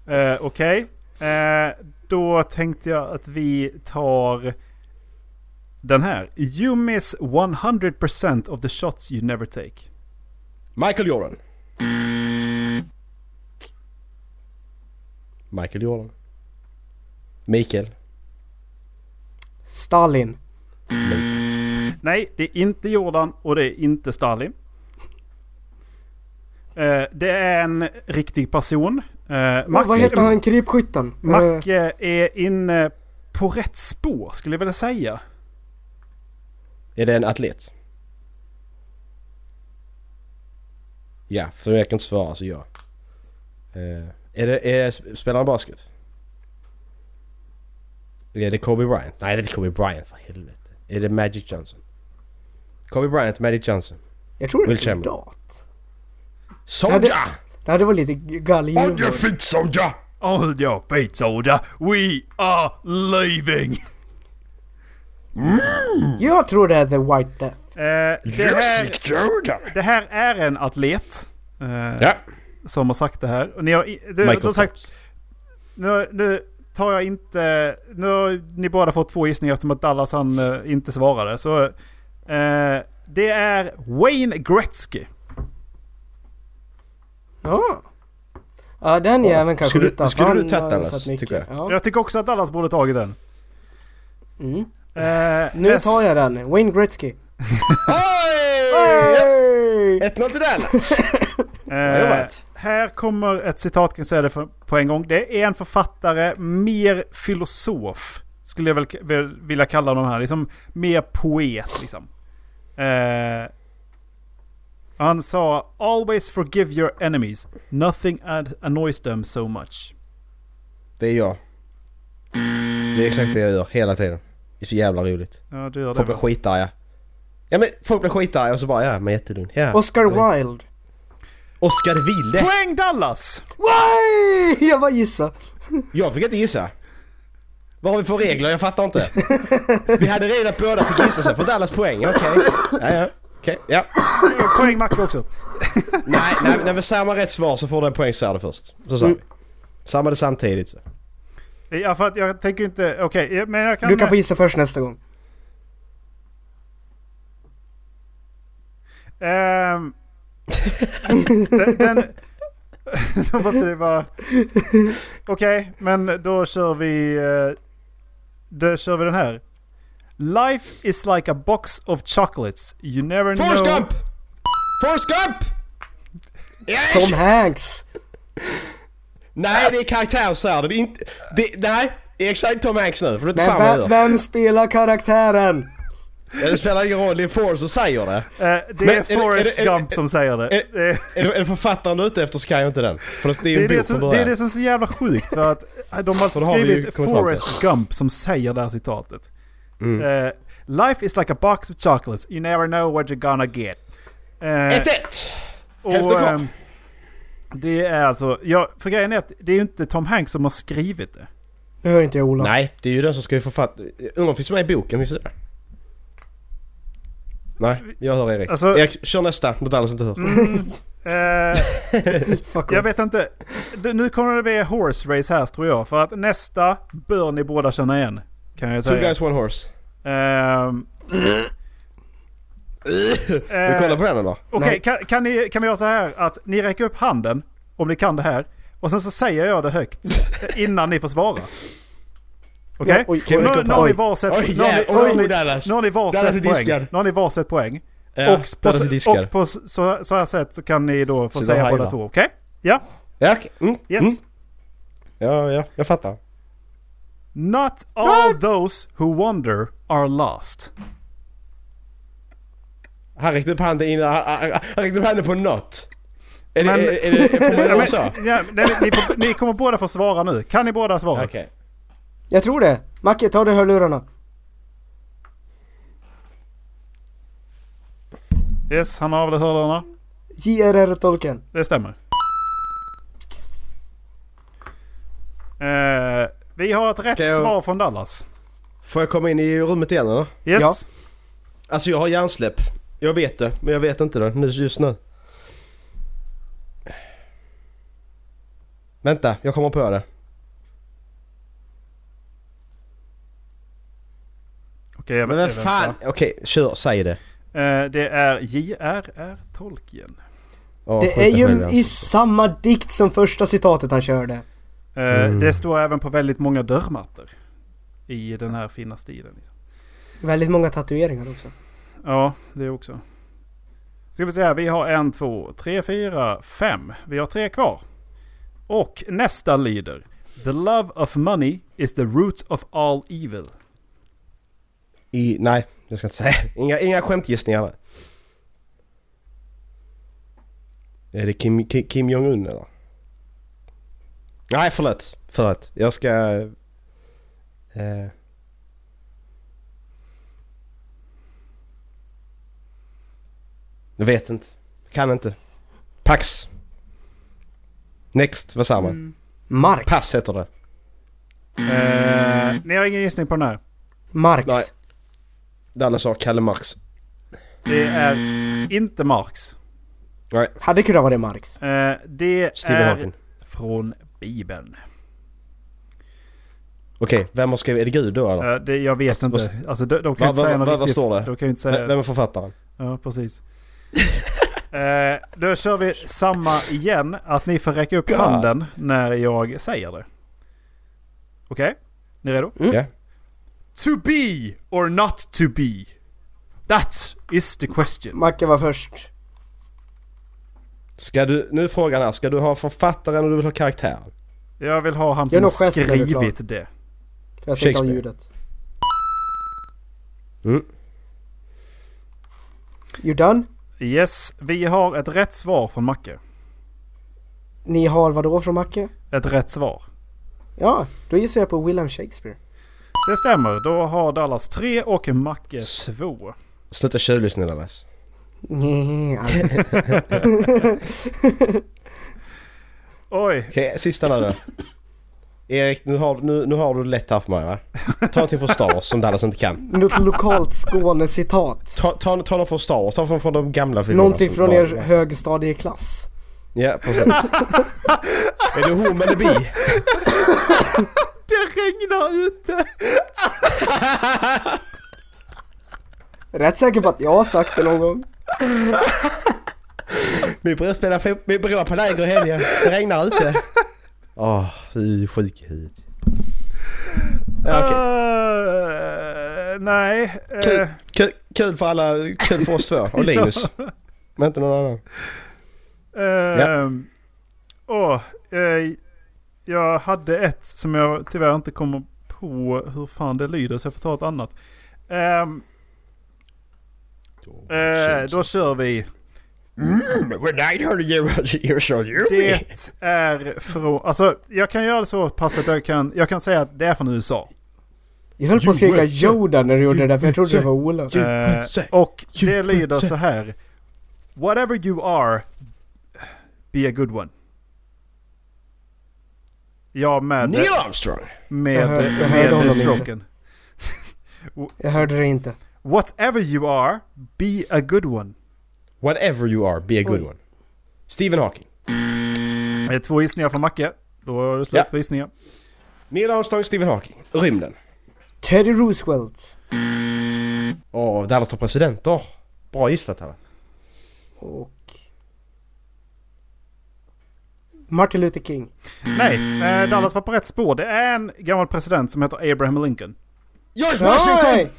Eh, Okej. Eh, då tänkte jag att vi tar den här. You miss 100% of the shots you never take. Michael Jordan. Michael Jordan. Mikael. Stalin. Mikael. Nej, det är inte Jordan och det är inte Stalin. Eh, det är en riktig person. Eh, Mac- vad heter han, krypskytten? Eh, Macke är inne på rätt spår skulle jag vilja säga. Är det en atlet? Ja, för jag kan inte svara så ja. Eh, är det, är, spelar han basket? Är det Kobe Bryant? Nej det är inte Kobe Bryant för helvete. Är det Magic Johnson? Kobe Bryant, Magic Johnson. jag tror det är Will Chamberlain. soldat. Sonja! Ja, Det hade varit lite galgen. feet Sonja! All your feet soldier, we are leaving! Jag tror det är The White Death. Eh, det, här, Yoda! det här är en atlet. Eh, Ja! Som har sagt det här. Och ni har, i- du, du har Michael sagt, Phelps. nu, nu tar jag inte... Nu har ni båda fått två gissningar eftersom att Dallas han eh, inte svarade. Så eh, det är Wayne Gretzky. Ja. Ja den jäveln kanske Skulle- utanför. skulle du han tagit har den, satt mycket. tycker jag? Ja. Jag tycker också att Dallas borde tagit den. Mm. Eh, Nu tar jag den. Wayne Gretzky. Oj! 1-0 till Dallas! Bra Eh, jobbat. här kommer ett citat, kan jag säga det för, på en gång. Det är en författare, mer filosof, skulle jag väl, väl vilja kalla de här. Liksom, mer poet, liksom. Eh, han sa “Always forgive your enemies. Nothing ad- annoys them so much”. Det är jag. Det är exakt det jag gör hela tiden. Det är så jävla roligt. Ja, du gör det. Folk blir skitarga. Ja men folk blir skitarga och så bara ja men jättedum. Ja. Oscar Wilde. Oscar Wilde! Poäng Dallas! Why? Jag bara gissar. Jag fick inte gissa. Vad har vi för regler? Jag fattar inte. Vi hade redan båda fick gissa sen för Dallas poäng. Okej. Ja, ja. Okej, ja. Poäng Macke också. Nej, nej, nej men samma rätt svar så får den poäng så är det först. Så sa vi. Samma det samtidigt så. Ja, för att jag tänker inte... Okej, men jag kan... Du kan få gissa först nästa gång. Ehm... den... den då måste det vara... Okej, men då kör vi... eh, Då kör vi den här. Life is like a box of chocolates. You never Forrest know... Gump! Forrest Gump! Tom Hanks. Nej det är karaktärsärden, det är inte... Det, nej! Det är exakt Tom Hanks nu, för det är inte Men fan vad jag vem, gör. vem spelar karaktären? Ja, Det spelar ingen roll, det är Forrest som säger det. Eh, det Men är är det- är Forrest det- är det- Gump som säger det. är- Det- Är det, är det författaren du är ute efter så kan jag inte den. För det är Det ju är en det, bok från som, det är början. det som är så jävla sjukt för att eh, de har För då har vi ju skrivit kommit fram till. Forrest Gump som säger det här citatet. Mm. Eh, Life is like a box of chocolates, you never know what you're gonna get. Eh, 1-1! Hälften kvar. ehm, det är alltså, ja, för grejen är att det är ju inte Tom Hanks som har skrivit det. Nu hör inte jag Ola. Nej, det är ju den som skriver författ... Undrar om finns med i boken, finns det det? Nej, jag hör Erik. Alltså- Mm. Erik, kör nästa, något annat inte hör. Eh, Fuck jag off. vet inte, Det- nu kommer det bli horse race här tror jag. För att nästa bör ni båda känna igen. Kan jag Two säga. guys, one horse. Ehm, Vi Eh. kollar på den eller? Okej, Nej. kan, kan, ni, kan vi göra så här att ni räcker upp handen om ni kan det här. Och sen så säger jag det högt innan ni får svara. Okej? Ja, oj, Nu oj, nu- nu har oj. ni varsitt Oj, nu har ni- jävlar. nu har ni- Oj, Dallas. nu har ni Dallas är varsitt poäng. diskad. Nu har ni varsitt poäng. Ja, och på, Dallas är så, diskad. och på så, så- så här sätt så kan ni då få Så säga då båda hajlar. två. Okej? Ja, Ja, okej. Mm. yes. Mm. Ja, ja, jag fattar. Not all those who wander are lost. Han räckte upp handen innan, han, han, han räckte upp handen på något. Är Men- det, är, är det, får man Ja, göra men, så? ja, nej, men ni, får- ni kommer båda få svara nu. Kan ni båda svara? Okej. Jag tror det. Macke, ta dig hörlurarna. Yes, han har väl hörlurarna. J.R.R.-tolken. Det stämmer. Eh, vi har ett rätt Ska jag- svar från Dallas. Får jag komma in i rummet igen eller? Yes. Ja. Alltså jag har hjärnsläpp. Jag vet det, men jag vet inte det nu, just nu. Vänta, jag kommer på det. Okej, jag Men vet- jag vem vet fan! inte. Okej, kör, säg det. Eh, det är J.R.R. Tolkien. Ja, skjut Det är själv, ju alltså. i samma dikt som första citatet han körde. Eh, Mm. Det står även på väldigt många dörrmattor. I den här fina stilen. Liksom. Väldigt många tatueringar också. Ja, det också. Ska vi säga, vi har en, två, tre, fyra, fem. Vi har tre kvar. Och nästa lyder. The love of money is the root of all evil. I, nej, jag ska inte säga. Inga, inga skämtgissningar. där. Är det Kim, Ki- Kim Jong-Un eller? Nej, förlåt. Förlåt. Jag ska... Eh, jag vet inte. Kan inte. Pax. Next, vad säger man? Marx. Pass heter det. Mm. Eh, ni har ingen gissning på den här. Marx. Nej. Dallas sa Kalle Marx. Det är inte Marx. Nej, Hade kunnat vara det Marx. Eh, det Stephen är Hawking. från Bibeln. Okej, vem har skrivit? Är det Gud då eller? Eh, det, jag vet Vad- inte. Alltså, de, de kan vad- inte säga vad- något vad- vad riktigt. står det? De kan ju inte säga... V- Vem är författaren? Ja, precis. eh, då kör vi samma igen. Att ni får räcka upp God. handen när jag säger det. Okej? Ni redo? Ja. To be or not to be. That is the question. Macke var först. Ska du, nu är frågan här, ska du ha författaren och du vill ha karaktären? Jag vill ha han Gör som någon gest när du är klar. skrivit det. För jag ska inte ha Shakespeare. ljudet. Mm. You done? Yes, vi har ett rätt svar från Macke. Ni har vadå från Macke? Ett rätt svar. Ja, då gissar jag på William Shakespeare. Det stämmer. Då har Dallas 3 och Macke 2. Sluta tjuvlyssna Dallas. Nej, Oj, Okej, sista nu då. Erik, nu har, nu, nu har du det lätt här för mig va? Ta någonting från Star Wars som Dallas inte kan. Något lokalt Skåne-citat. Ta, ta, ta något från Star Wars, ta från, från de gamla filmerna. Någonting som från bara- er högstadieklass. Ja, precis. är du hom eller bi? det regnar ute! Rätt säker på att jag har sagt det någon gång. Min bror spelar fot- min bror på läger i helgen. Det regnar ute. Åh, fy sjuk i huvudet. Ja, okej. Eh, nej. eh, Kul, kul, kul för alla, kul för oss två och Linus. Men inte någon annan. Ehm, Åh, eh, jag hade ett som jag tyvärr inte kommer på hur fan det lyder så jag får ta ett annat. Ehm, eh, då kör vi. When I heard you, you saw you. Det är från... Alltså jag kan göra det så pass att jag kan, jag kan säga att det är från USA. Jag höll på att skrika Joel, så- Yoda när du gjorde det där för jag trodde det var Ola. Eh, och det lyder så här. Whatever you are, be a good one. Ja, med, Neil Armstrong. Jag med, hör- jag hörde med, honom med inte. stroken. Jag hörde det inte. Whatever you are, be a good one. Whatever you are, be a good one. Stephen Hawking. Det är två gissningar från Macke. Då är det slut Ja. på gissningar. Neil Armstrong, Stephen Hawking. Rymden. Teddy Roosevelt. Åh, Dallas som president. Åh, bra gissat här. Och... Martin Luther King. Nej, eh, Dallas var på rätt spår. Det är en gammal president som heter Abraham Lincoln. George Nej!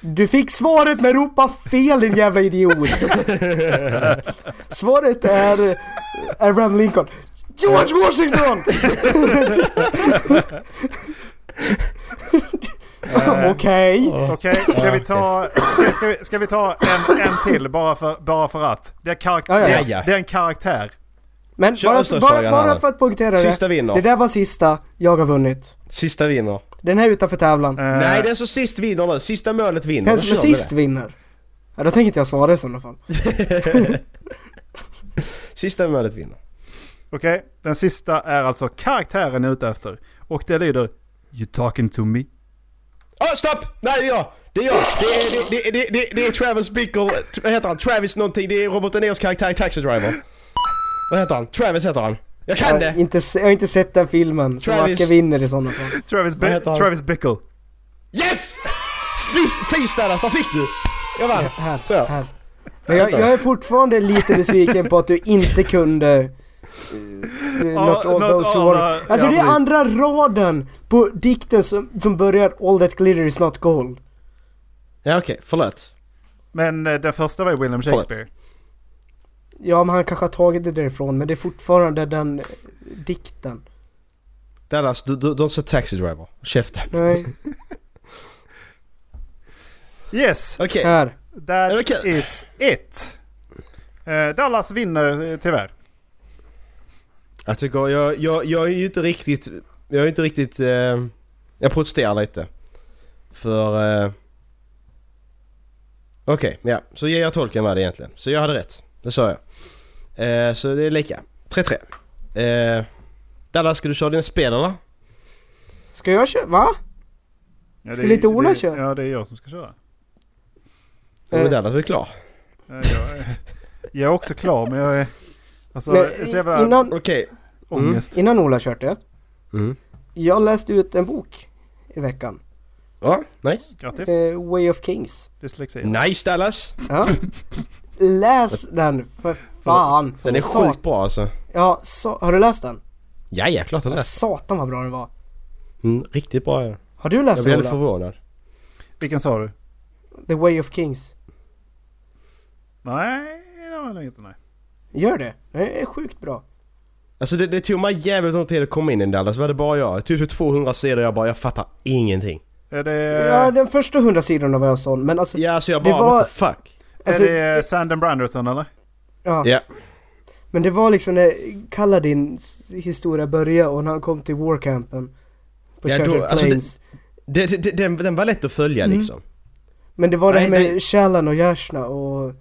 Du fick svaret men ropa fel din jävla idiot! svaret är Abraham Lincoln. George Washington! Eh, Okej. Okej, ska vi ta, okej, ska vi, ska vi ta en, en till bara för, bara för att? Det är, karak- Ja, ja. det, Ja, ja. är, det är en karaktär. Men Kör bara, nästa bara, fråga, bara Hanna. för att poängtera det. Sista vinner. Det där var sista, jag har vunnit. Sista vinner. Den här är utanför tävlan. Eh, Nej, den som sist vinner nu. Sista målet vinner. Den Då som är kör vi sist vinner. Ja, då tänker inte jag svara i sådana fall. det. Sista målet vinner. Okej, den sista är alltså karaktären jag är ute efter. Och det lyder You talking to me? Åh, Ah, stopp! Nej, det är jag! Det är jag! Det är, det, det, det, det, det är Travis Bickle... T- Vad heter han? Travis någonting. Det är Robert De Niros karaktär i Taxi Driver. Vad heter han? Travis heter han. Jag Jag kan har, det! inte, se- jag har inte sett den filmen, så Travis. Macke vinner i sådana fall. Travis, Vad Bi- heter han? Travis Bickle. Yes! Fis- Fis där, där fick du! Jag vann! Här, Så. här. Men jag, jag är fortfarande lite besviken på att du inte kunde... Uh, Ja, not all not those who all are... the- Alltså ja, det är precis. andra raden på dikten som, som börjar All that glitter is not gold. Ja, okej. Förlåt. Men eh, den första var ju William Förlåt. Shakespeare. Ja men han kanske har tagit det därifrån men det är fortfarande den eh, dikten. Dallas, du, du, du har sett Taxi Driver. Käften. Nej, Yes, Okej. här. that Okej. is it. Eh, Dallas vinner eh, tyvärr. Jag tycker, jag, jag, jag är ju inte riktigt, jag är inte riktigt, eh, jag protesterar lite. För, eh, okej, ja. Så ger jag tolken vad det egentligen. Så jag hade rätt, det sa jag. Eh, så det är lika, 3-3. Eh, Dallas, ska du köra dina spel eller? Ska jag köra? Va? Ja, det Skulle är- inte Ola det är- köra? Ja, det är jag som ska köra. Jo, Eh. Dallas är klar. Eh, Jag, är- jag är också klar, men jag är... Alltså, Men, så jävla innan, Mm. Okej. ångest. innan Ola kört det. Mm. Jag läste ut en bok i veckan. Ja, nice. Grattis. Eh, Way of Kings. Dyslexi. Nice Dallas! Ja. Läs den för fan. Den är Sat- sjukt bra alltså. Ja, sa- har du läst den? Ja, ja, klart jag läst. Satan vad bra den var. Mm, riktigt bra ja. Har du Jag läst blev den lite Ola? förvånad. Vilken sa du? The Way of Kings. Nej, det var nog inte nej. Gör det. Den är sjukt bra. Alltså det, det tog mig jävligt lång tid att komma in i den Dallas, var det bara jag? Typ 200 sidor jag bara, jag fattar ingenting. Är det, Ja, den första hundra sidorna var jag sån, men alltså... Ja alltså jag Det bara, var- what the fuck? alltså, är det Sand and Branderson eller? ja. Ja. Men det var liksom när Kalladins historia började och när han kom till Warcampen. På Ja, då- Shattered alltså, det- Plains. Det, det, det, den, den var lätt att följa Mm. liksom. Men det var det här Nej, med det- Shalan och Jashna och...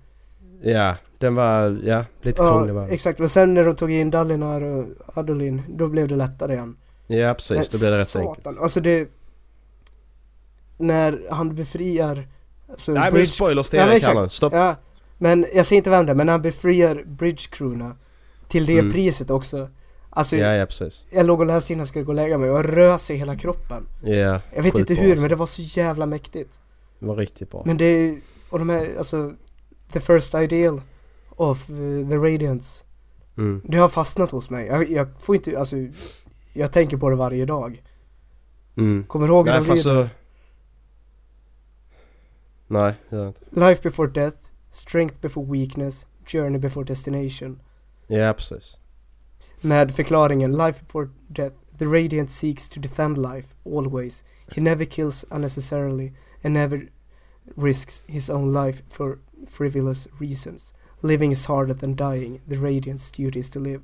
Ja, den var, ja, lite krånglig Ja, var den. exakt. Men sen när de tog in Dalinar och Adolin, då blev det lättare igen. Ja precis, då Men blev det rätt så satan, enkelt. Alltså det... När han befriar... Alltså Nej men det är spoilers till Ja, men Erik exakt. här nu, stopp. Ja, men jag säger inte vem det är, men när han befriar Bridge-crewna till det Mm. priset också. Alltså, Ja, ja precis. jag låg och läste innan jag skulle gå och lägga mig och jag rös i hela kroppen. Ja, Jag vet sjukt inte bra, hur, alltså. men det var så jävla mäktigt. Det var riktigt bra. Men det är och de här, alltså, the first ideal of eh, the radiance. Mm. Det har fastnat hos mig. Jag, jag får inte, alltså, jag tänker på det varje dag. Mm. Kommer du ihåg Nej den fast lyder? så... Nej, det gör jag inte. Life before death, strength before weakness, journey before destination. Ja precis. Med förklaringen Life before death, the radiant seeks to defend life, always. He never kills unnecessarily and never risks his own life for frivolous reasons. Living is harder than dying, the radiant's duty is to live.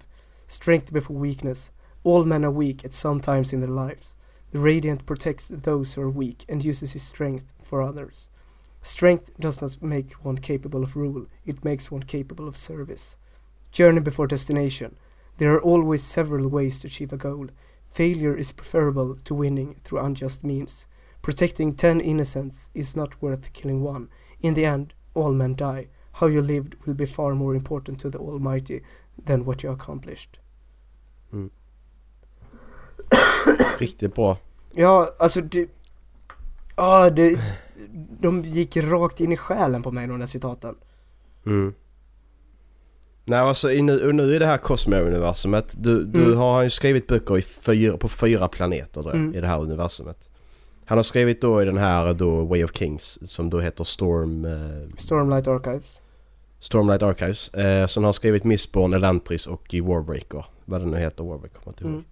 Strength before weakness. All men are weak at some times in their lives. The radiant protects those who are weak and uses his strength for others. Strength does not make one capable of rule, it makes one capable of service. Journey before destination. There are always several ways to achieve a goal. Failure is preferable to winning through unjust means. Protecting ten innocents is not worth killing one. In the end, all men die. How you lived will be far more important to the Almighty than what you accomplished. Riktigt bra. Ja, alltså det... Ja, det... De gick rakt in i själen på mig, de där citaten. Mm. Nej alltså i nu, och nu i det här Cosmo-universumet, du, du Mm. har han ju skrivit böcker i fyra, på fyra planeter då, Mm. i det här universumet. Han har skrivit då i den här då Way of Kings som då heter Storm, eh, Stormlight Archives. Stormlight Archives. Eh, som har skrivit Mistborn, Elantris och i Warbreaker. Vad den nu heter, Warbreaker kommer jag inte ihåg. Mm.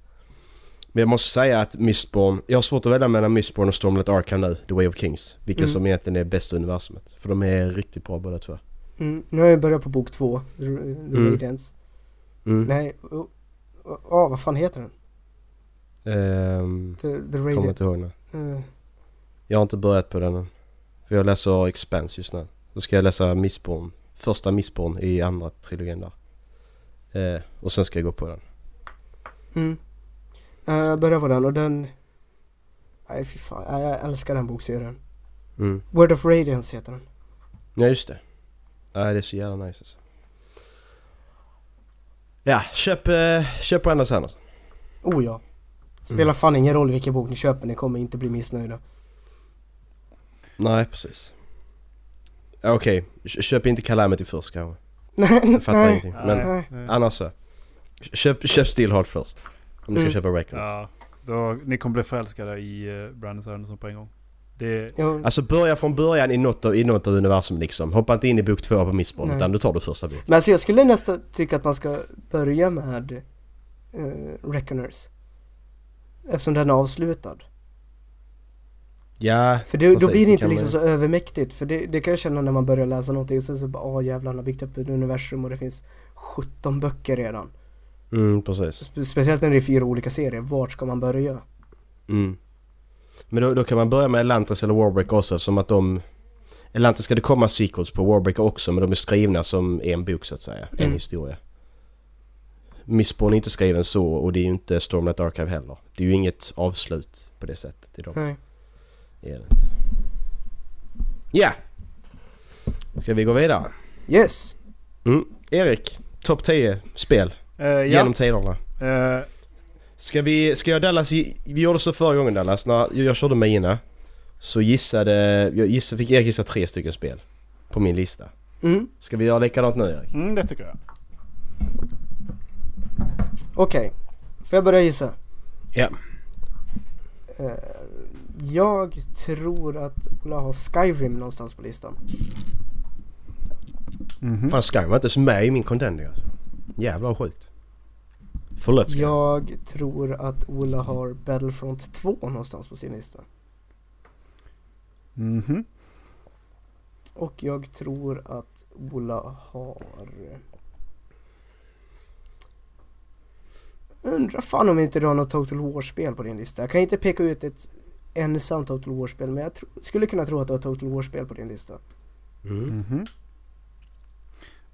Men jag måste säga att Mistborn, jag har svårt att välja mellan Mistborn och Stormlight Arkham nu, The Way of Kings. Vilka Mm. som egentligen är bästa universumet. För de är riktigt bra båda två. Mm, nu har jag börjat på bok två, The, The Radiance. Mm. Nej, oh, oh, vad fan heter den? Ehm, The, the kommer Radiance. inte ihåg nu. eh, Jag har inte börjat på den än. För jag läser Expanse just nu. Då ska jag läsa Mistborn. Första Mistborn i andra trilogin där. Eh, och sen ska jag gå på den. mm. Eh, jag började på den och den... Nej fy fan, nej, jag älskar den bokserien. Mm. Word of Radiance heter den. Ja just det. Ja, det är så jävla nice alltså. Ja, köp, eh, köp Brandon Sanderson. Oh ja. Spelar Mm. fan ingen roll vilken bok ni köper, ni kommer inte bli missnöjda. Nej, precis. Ja, Okej, Kö- köp inte Calamity först kanske. Nej, Jag fattar nej. ingenting. Men Nej. annars så. Köp, köp Steel Heart först. Om du ska Mm. köpa Records. Ja, då, ni kommer bli förälskade i eh, Brandon Sanderson på en gång. Det, Jo, Alltså börja från början i något av, i något av universum liksom. Hoppa inte in i bok två på Missborn Nej. utan du tar det första bok. Men alltså jag skulle nästan tycka att man ska börja med eh, Reckoners. Eftersom den är avslutad. Ja, För det, då Precis, blir det det inte kan liksom man- så övermäktigt. För det, det kan jag känna när man börjar läsa någonting och sen så bara åh jävlar han har byggt upp ett universum och det finns 17 böcker redan. mm, precis. Spe- Speciellt när det är fyra olika serier, vart ska man börja? Mm. Men då, då kan man börja med Atlantis eller Warbreak också eftersom att de... Atlantis ska det komma sequels på Warbreak också men de är skrivna som en bok så att säga. En Mm. historia. Missborn är inte skriven så och det är ju inte Stormlight Archive heller. Det är ju inget avslut på det sättet i dem. Nej. Det är det inte. Ja! Ska vi gå vidare? Yes! Mm. Erik, topp 10 spel eh, ja, genom tiderna. eh, Ska vi, ska jag Dallas, gi- vi gjorde så förra gången Dallas, när jag körde mina Så gissade, jag gissade, fick Erik gissa tre stycken spel På min lista Mm, Ska vi göra likadant nu Erik? mm, det tycker jag. okej. Får jag börja gissa? Ja Eh, jag tror att Ola har Skyrim någonstans på listan. Mhm. Fan Skyrim var inte ens med i min contender alltså Jävlar vad sjukt Förlåt Skyrim Jag tror att Ola har Battlefront 2 någonstans på sin lista. Mhm. Och jag tror att Ola har... Undrar fan om inte du har något Total War-spel på din lista. Jag kan inte peka ut ett ensamt Total War-spel men jag tro, skulle kunna tro att du har Total War-spel på din lista. mm. Mhm.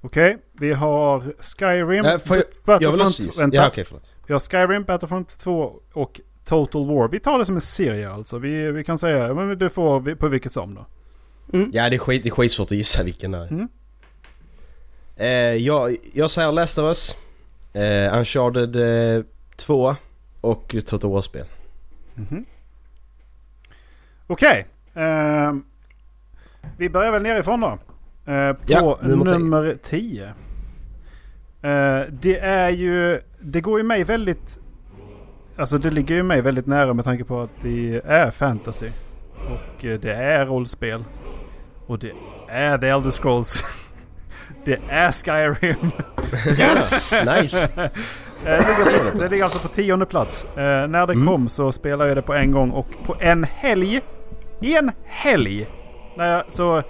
Okej, vi har Skyrim, Äh, får jag- Battlefront... Jag vill också gissa, vänta. ja okej förlåt Vi har Skyrim, Battlefront 2 och Total War. Vi tar det som en serie alltså. Vi, vi kan säga, men du får vi- på vilket som då. Mm. Ja det är, skit, det är skitsvårt att gissa vilken det är Mm. eh, jag, jag säger Last of Us eh, Uncharted eh, 2 Och Total War-spel Mhm. Okej. ehm, vi börjar väl nerifrån då. Eh, på Ja, nummer tio. nummer 10. Eh, det är ju... Det går ju mig väldigt... Alltså det ligger ju mig väldigt nära med tanke på att det är fantasy. Och eh, det är rollspel. Och det är The Elder Scrolls. det är Skyrim. Yes! nice! Eh, det, ligger, det ligger alltså på tionde plats. Eh, när det kom så spelade jag det på en gång och på en helg, i en helg, när jag, så,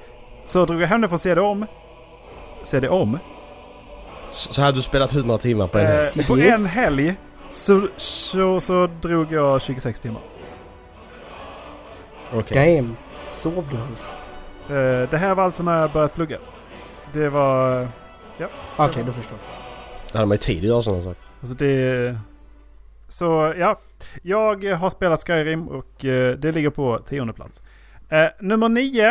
så drog jag hem det från CD-OM. CD-OM? Så så hade du spelat 100 timmar på en Eh, gång. på en helg så, så, så drog jag 26 timmar. Okej. Damn! Sov du ens? Eh, det här var alltså när jag började plugga. Det var... Okej, då förstår Det hade man ju tid att göra sådana saker. Alltså det... Så ja, jag har spelat Skyrim och eh, det ligger på tionde plats. Eh, nummer nio.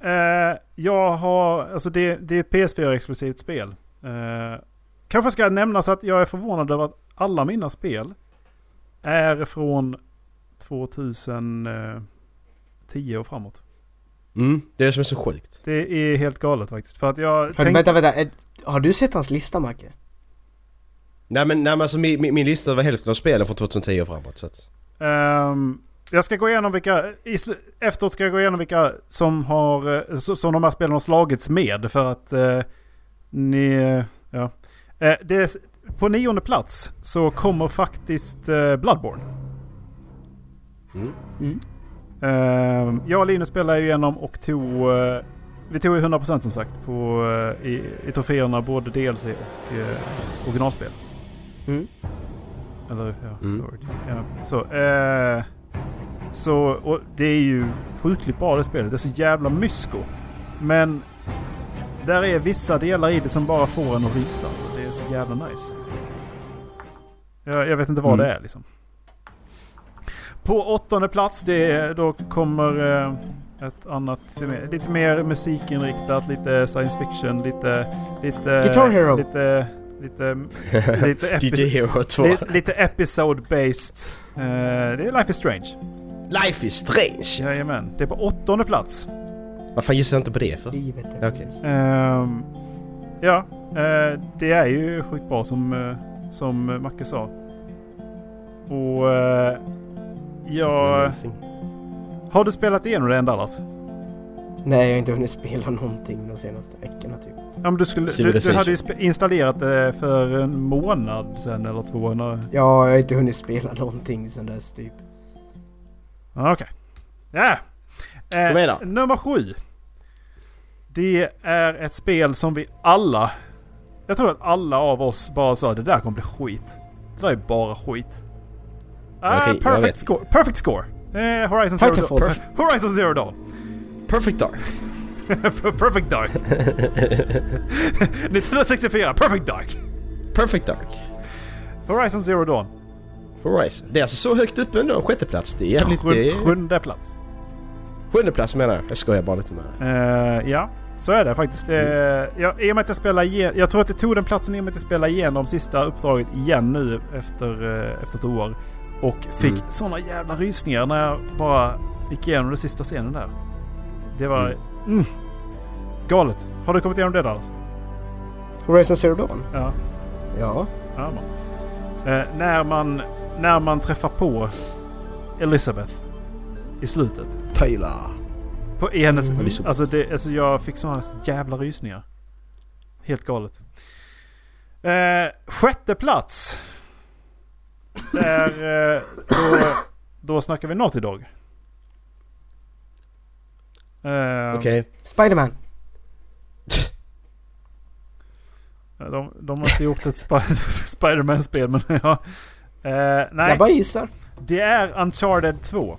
Eh, jag har, alltså det, det är ett PS4-exklusivt spel. Eh, kanske ska jag nämna så att jag är förvånad över att alla mina spel är från 2010 och framåt. Mm, det är det som är så sjukt. Det är helt galet faktiskt. För att jag jag. tänk- Vänta, vänta. Är, har du sett hans lista, Macke? Nej men, nej, men alltså min, min, min lista över hälften av spelen från 2010 och framåt så att... Ehm, jag ska gå igenom vilka, i sl- efteråt ska jag gå igenom vilka som, har, eh, s- som de här spelen har slagits med för att eh, ni, eh, ja. Eh, det, är s- På nionde plats så kommer faktiskt eh, Bloodborne. Mm. Mm. Eh, jag och Linus spelade ju igenom och tog... eh, vi tog ju 100% som sagt på, eh, i, i troféerna både DLC och eh, originalspel. Mm. Eller ja, Mm. Lord. Ja, så. Eh, så och det är ju sjukligt bra det spelet. Det är så jävla mysko. Men där är vissa delar i det som bara får en att rysa. Alltså. Det är så jävla nice. Jag, jag vet inte vad Mm. det är liksom. På åttonde plats, det är, då kommer eh, ett annat, lite mer, lite mer musikinriktat, lite science fiction, lite... lite Guitar Hero. Lite, lite, lite DJ epic, Hero 2. lite, lite episode-based. Eh, det är Life is Strange. Life is strange! Jajamän. Det är på åttonde plats. Varför gissar jag inte på det för? Livet är Okej. Ehm, ja, eh, det är ju sjukt bra som, eh, som Macke sa. Och eh, ja, har du spelat igenom det än Dallas? Nej, jag har inte hunnit spela någonting de senaste veckorna typ. Ja, men du, skulle, du, du Civilization. hade ju spe- installerat det för en månad sen eller två. När... Ja, jag har inte hunnit spela någonting sen dess typ. Ja, Okej. Ja! Eh, Kom igen då. nummer sju. Det är ett spel som vi alla... Jag tror att alla av oss bara sa det där kommer bli skit. Det där är bara skit. Ah, Okej, jag perfect, vet. score, perfect score! Eh, Horizon Zero Dawn. Titanfall. Per- Horizon Zero Dawn! Perfect Dark. perfect Dark! 1964, Perfect Dark! Perfect Dark. Horizon Zero Dawn. Horizon. Det är alltså så högt upp ändå. Sjätte plats. Det är jävligt... det Sjun- är- Sjunde plats. Sjunde plats menar jag. Jag skojar bara lite med det. Eh, ja, så är det faktiskt. Eh, jag, I och med att jag spelar igen, Jag tror att jag tog den platsen i och med att jag spelade igenom sista uppdraget igen nu efter, eh, efter ett år. Och fick Mm. såna jävla rysningar när jag bara gick igenom den sista scenen där. Det var... Mm. galet. Har du kommit igenom det där? Alltså? Horizon Zero Dawn? Ja. Ja. ja man. Eh, när, man, när man träffar på Elizabeth i slutet. Taylor. På, I hennes... Mm. Liksom. Alltså, det, alltså jag fick sådana jävla rysningar. Helt galet. Eh, sjätte plats. Där, eh, då, då snackar vi något idag. Eh, Okej. Spiderman. de, de har inte gjort ett Sp- Spiderman-spel men ja. Eh, nej, Jag bara gissar. det är Uncharted 2.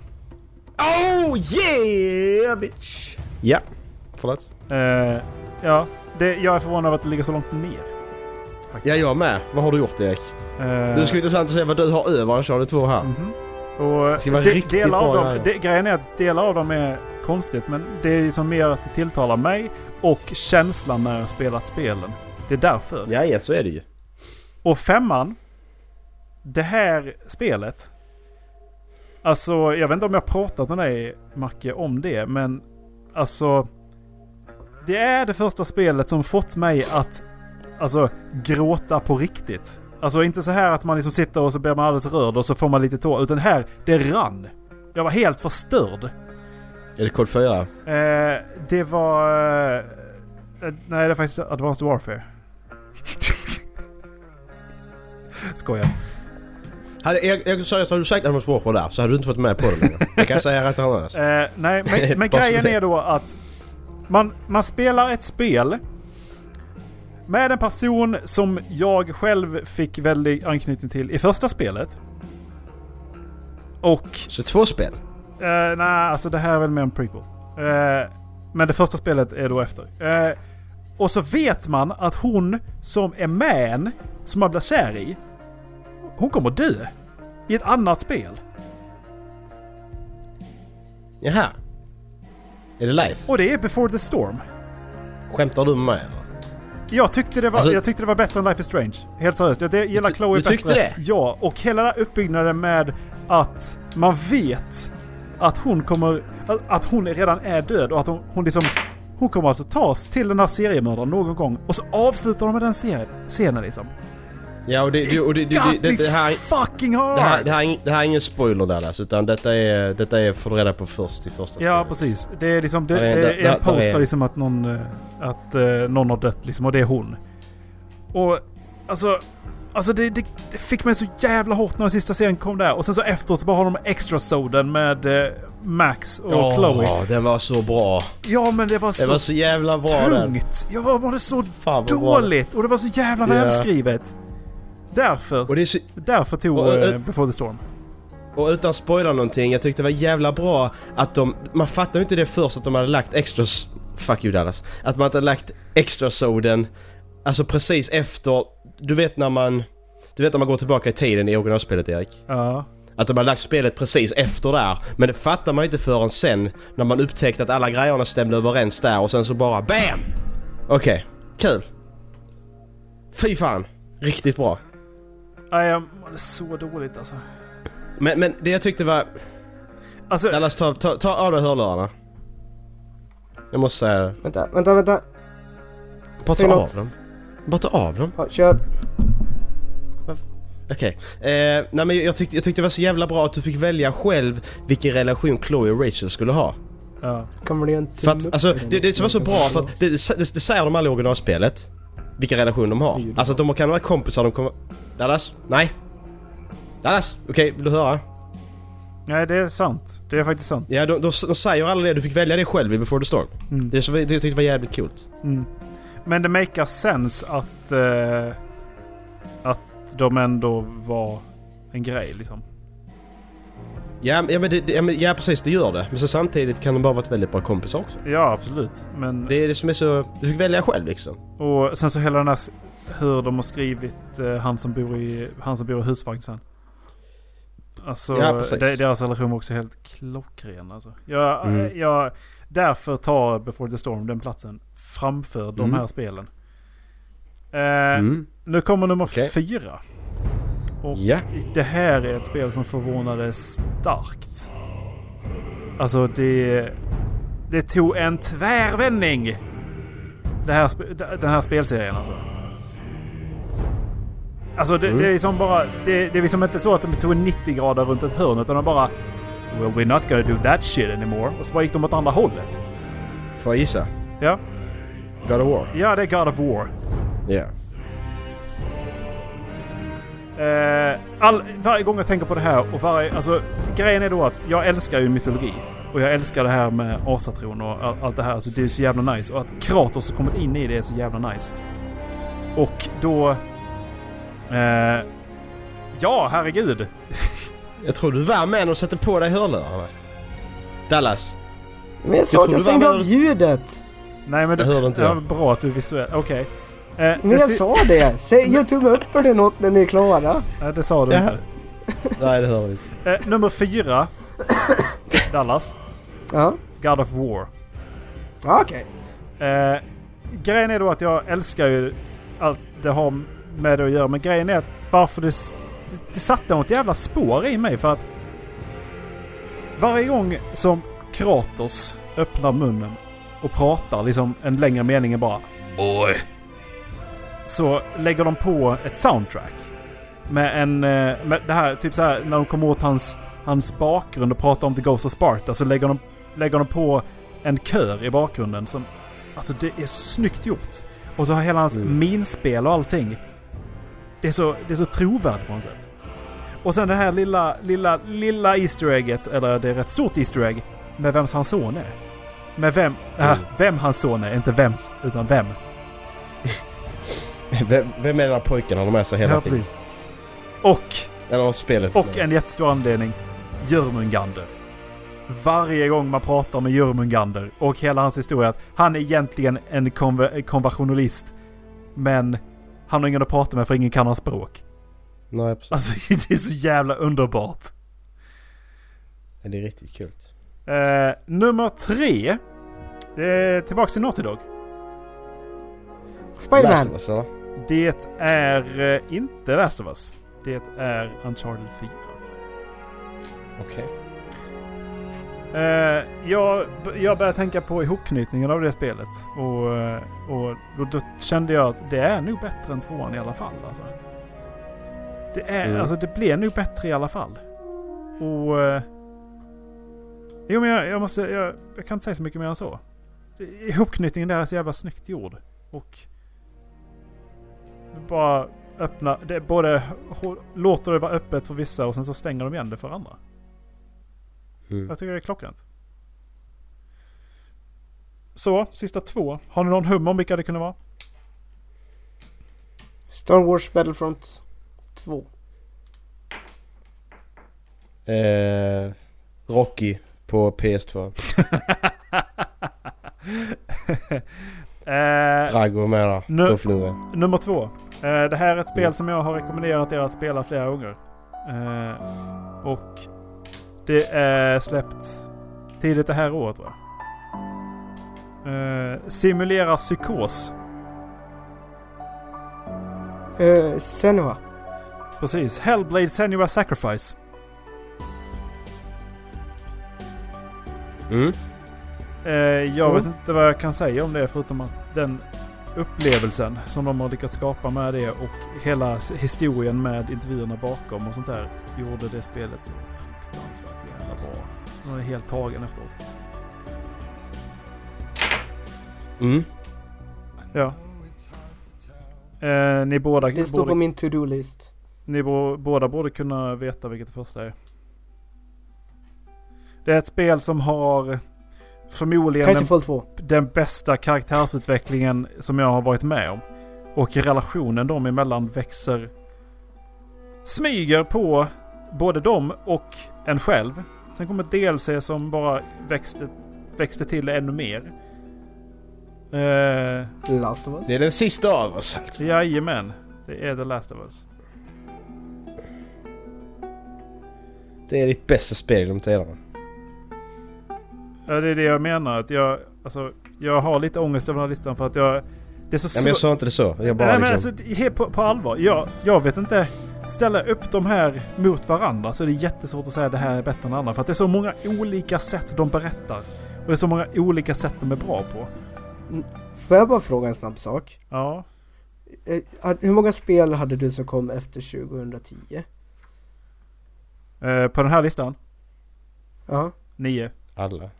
Oh yeah bitch! Ja. Förlåt. Eh, ja, det, jag är förvånad över att det ligger så långt ner. Ja, jag med. Vad har du gjort Erik? Eh, Det skulle vara intressant att se vad du har över Uncharted 2 här. Mhm. Och Det ska vara de, riktigt delar av bra dem, grejer. de, grejen är att delar av dem är konstigt men det är liksom mer att det tilltalar mig och känslan när jag spelat spelen. Det är därför. Ja, ja, så är det ju. Och femman. Det här spelet. Alltså jag vet inte om jag pratat med dig Macke om det men alltså. Det är det första spelet som fått mig att alltså gråta på riktigt. Alltså inte så här att man liksom sitter och så blir man alldeles rörd och så får man lite tår. Utan här, det rann. Jag var helt förstörd. Är det kod 4? Eh, det var... Eh, nej, det är faktiskt Advanced Warfare. Skojar. Hade, jag, jag, seriöst, hade du sagt Advanced Warfare där så hade du inte varit med på det längre. Jag kan säga rätt annars. Eh, nej, men, men Bara så grejen du vet. är då att man, man spelar ett spel med en person som jag själv fick väldigt anknytning till i första spelet. Och Så två spel? Eh, Nej, alltså det här är väl mer en prequel. Eh, men det första spelet är då efter. Eh, och så vet man att hon som är med en, som man blir kär i, hon kommer dö. I ett annat spel. Jaha. Är det live? Och det är Before the Storm. Skämtar du med mig eller? Jag tyckte det var, Alltså- jag tyckte det var bättre än Life is Strange. Helt seriöst. Jag det- gillar Du- Chloe du bättre. tyckte det? Ja, och hela den här uppbyggnaden med att man vet att hon kommer... Att, att hon redan är död och att hon, hon liksom... Hon kommer alltså tas till den här seriemördaren någon gång och så avslutar de med den serien, scenen liksom. Ja, och det, det, och det, det, Got det, det, me det här... fucking Det hard! här, det, här är, ing- det här är ingen spoiler Dallas, utan detta är, detta är får du reda på först i första Ja, spelet. precis. Det är liksom... Det, Ja, det det- det- är en det- det poster är- liksom att någon... eh, Att eh, någon har dött liksom och det är hon. Och alltså... Alltså det, det, det fick mig så jävla hårt när den sista serien kom där. Och sen så efteråt så bara har de extra soden med eh, Max och Chloe. Åh, den var så bra. Ja men det var Den så, var så jävla bra den. tungt. Jag var, var det så Fan vad bra den. dåligt och det var så jävla Ja. välskrivet. Därför, Och, det är så, därför tog Och, och- eh, Before the Storm. och utan att spoila någonting, jag tyckte det var jävla bra att de... Man fattade ju inte det först att de hade lagt extra... s- Fuck you Dallas. Att man hade lagt extra soden alltså precis efter... Du vet när man... Du vet när man går tillbaka i tiden i originalspelet Erik? Ja. Att de hade lagt spelet precis efter där. Men det fattar man ju inte förrän sen när man upptäckte att alla grejerna stämde överens där och sen så bara BAM! Okej, kul. Fy fan, riktigt bra. Nej, jag mådde så dåligt alltså. Men, men det jag tyckte var... Alltså, Dallas, ta, ta, ta av dig hörlurarna. Jag måste säga det. Vänta, vänta, vänta. Bara Säg ta av något. dem. Bara ta av dem. Ja, kör. Okej. Eh, nej men jag tyckte, jag tyckte det var så jävla bra att du fick välja själv vilken relation Chloe och Rachel skulle ha. ja. Kommer det en För tumme att, upp alltså, eller det, det något? som var så bra för att det, det, det säger de alla i originalspelet. Vilken relation de har. Alltså att de kan vara kompisar, de kommer... Dallas? Nej? Dallas? Okej, vill du höra? Nej, det är sant. Det är faktiskt sant. Ja, de, de, de säger alla det. Du fick välja det själv i Before the Storm. Mm. Det, som, jag- det jag tyckte var jävligt coolt. Men det makar sense att... Eh, att de ändå var en grej liksom. Ja, men- ja, men det, det, ja, men, ja, precis. Det gör det. Men så samtidigt kan de bara vara ett väldigt bra kompisar också. Ja, absolut. Men... Det är det som är så... Du fick välja själv liksom. Och sen så hela den här... s- Hur de har skrivit eh, han som bor i, han som bor i husvagn sen. Alltså, Ja, precis. de, deras relation var också helt klockren alltså. Jag, Mm. jag, därför tar Before the Storm den platsen framför de Mm. här spelen. Eh, Nu kommer nummer Okej. fyra. Och Ja. det här är ett spel som förvånade starkt. Alltså det... Det tog en tvärvändning! Det här, sp- den här spelserien alltså. Alltså det, det är som bara... Det, det är liksom inte så att de tog en 90 grader runt ett hörn utan de bara... Well we're not gonna do that shit anymore. Och så bara gick de åt andra hållet. Får jag gissa? Ja, God of War? ja det är God of War. Ja. Eh, all, varje gång jag tänker på det här och varje... Alltså, grejen är då att jag älskar ju mytologi. Och jag älskar det här med asatron och all, allt det här. Så det är så jävla nice. Och att Kratos har kommit in i det är så jävla nice. Och då... Eh, ja, herregud! Jag tror du var med och satte på dig hörlurarna. Dallas? Men jag Jag sa att trodde jag det var stängde bara- av ljudet! Nej men... Jag hörde inte ja, det. Bra att du är visuell. Okej. Eh, Men det jag si- sa det! Säg, gör tumme upp eller något när ni är klara. Nej, det sa du Ja. inte. Nej, det hörde vi inte. Eh, nummer fyra. Dallas. Ja, God of War. ja okej. Eh, grejen är då att jag älskar ju allt det har med det att göra. Men grejen är att varför det, s- det, det satte något jävla spår i mig. För att varje gång som Kratos öppnar munnen och pratar liksom en längre mening än bara Oj. Så lägger de på ett soundtrack. Med en... eh, Med det här, typ så här när de kommer åt hans, hans bakgrund och pratar om The Ghost of Sparta så lägger de, lägger de på en kör i bakgrunden som... Alltså det är snyggt gjort. Och så har hela hans Mm. minspel och allting. Det är så, det är så trovärdigt på något sätt. Och sen det här lilla, lilla, lilla Easter egget, eller det är rätt stort Easter egg, med vems hans son är. Med vem, Mm. äh, vem hans son är, inte vems, utan vem. Vem, vem är den där pojken han har med sig hela Ja, tiden? precis. Och, Eller av spelet? och en jättestor anledning, Jörmungandr. Varje gång man pratar med Jörmungandr och hela hans historia att han är egentligen en konver- konversionalist, men han har ingen att prata med för ingen kan hans språk. Nej, precis. Alltså det är så jävla underbart. Ja, Det är riktigt kul. Eh, nummer tre. Det är tillbaks till Naughty Dog. Last of Spiderman. Us, eller? Det är eh, inte Last of Us. Det är Uncharted 4. Okej. Eh, jag, jag började tänka på ihopknytningen av det spelet. Och, eh, och då, då kände jag att det är nog bättre än tvåan i alla fall. Alltså. Det, är, Mm. alltså, det blev nog bättre i alla fall. Och... Eh, jo men jag, jag måste... Jag, jag kan inte säga så mycket mer än så. Ihopknytningen där är så jävla snyggt gjord. Och... Bara... öppna, det är både hå- låter det vara öppet för vissa och sen så stänger de igen det för andra. Mm. Jag tycker det är klockrent. Så, sista två. Har ni någon hum om vilka det kunde vara? Star Wars Battlefront 2. Eh, Rocky på PS2. Eh, Drago med där. Nu- Tofflure. nummer två. Eh, det här är ett spel som jag har rekommenderat er att spela flera gånger. Eh, och det är släppt tidigt det här året va? Eh, simulera psykos. Eh, Senua. Precis. Hellblade Senua Sacrifice. Mm. Eh, jag Mm. vet inte vad jag kan säga om det förutom att den upplevelsen som de har lyckats skapa med det och hela s- historien med intervjuerna bakom och sånt där gjorde det spelet så fruktansvärt jävla bra. Man är helt tagen efteråt. Mm. Ja. Eh, ni båda, Det står på borde, min to-do-list. ni bo, båda borde kunna veta vilket det första är. Det är ett spel som har förmodligen en Titanfall 2. den bästa karaktärsutvecklingen som jag har varit med om. Och relationen dem emellan växer... Smyger på både dem och en själv. Sen kommer ett DLC som bara växte, växte till ännu mer. Eh, Last of Us. Det är den sista av oss alltså. jajamän. Det är The Last of Us. Det är ditt bästa spel genom tiderna. Ja, det är det jag menar. Att jag, alltså, jag har lite ångest över den här listan för att jag... Det är så Ja, men jag sa inte det så. Jag bara Nej men alltså liksom... det- helt på, på allvar. Jag, jag vet inte. Ställa upp de här mot varandra så är det jättesvårt att säga det här är bättre än det andra. För att det är så många olika sätt de berättar. Och det är så många olika sätt de är bra på. Får jag bara fråga en snabb sak? Ja. Eh, hade- hur många spel hade du som kom efter 2010? Eh, på den här listan? Ja. Nio. Alla.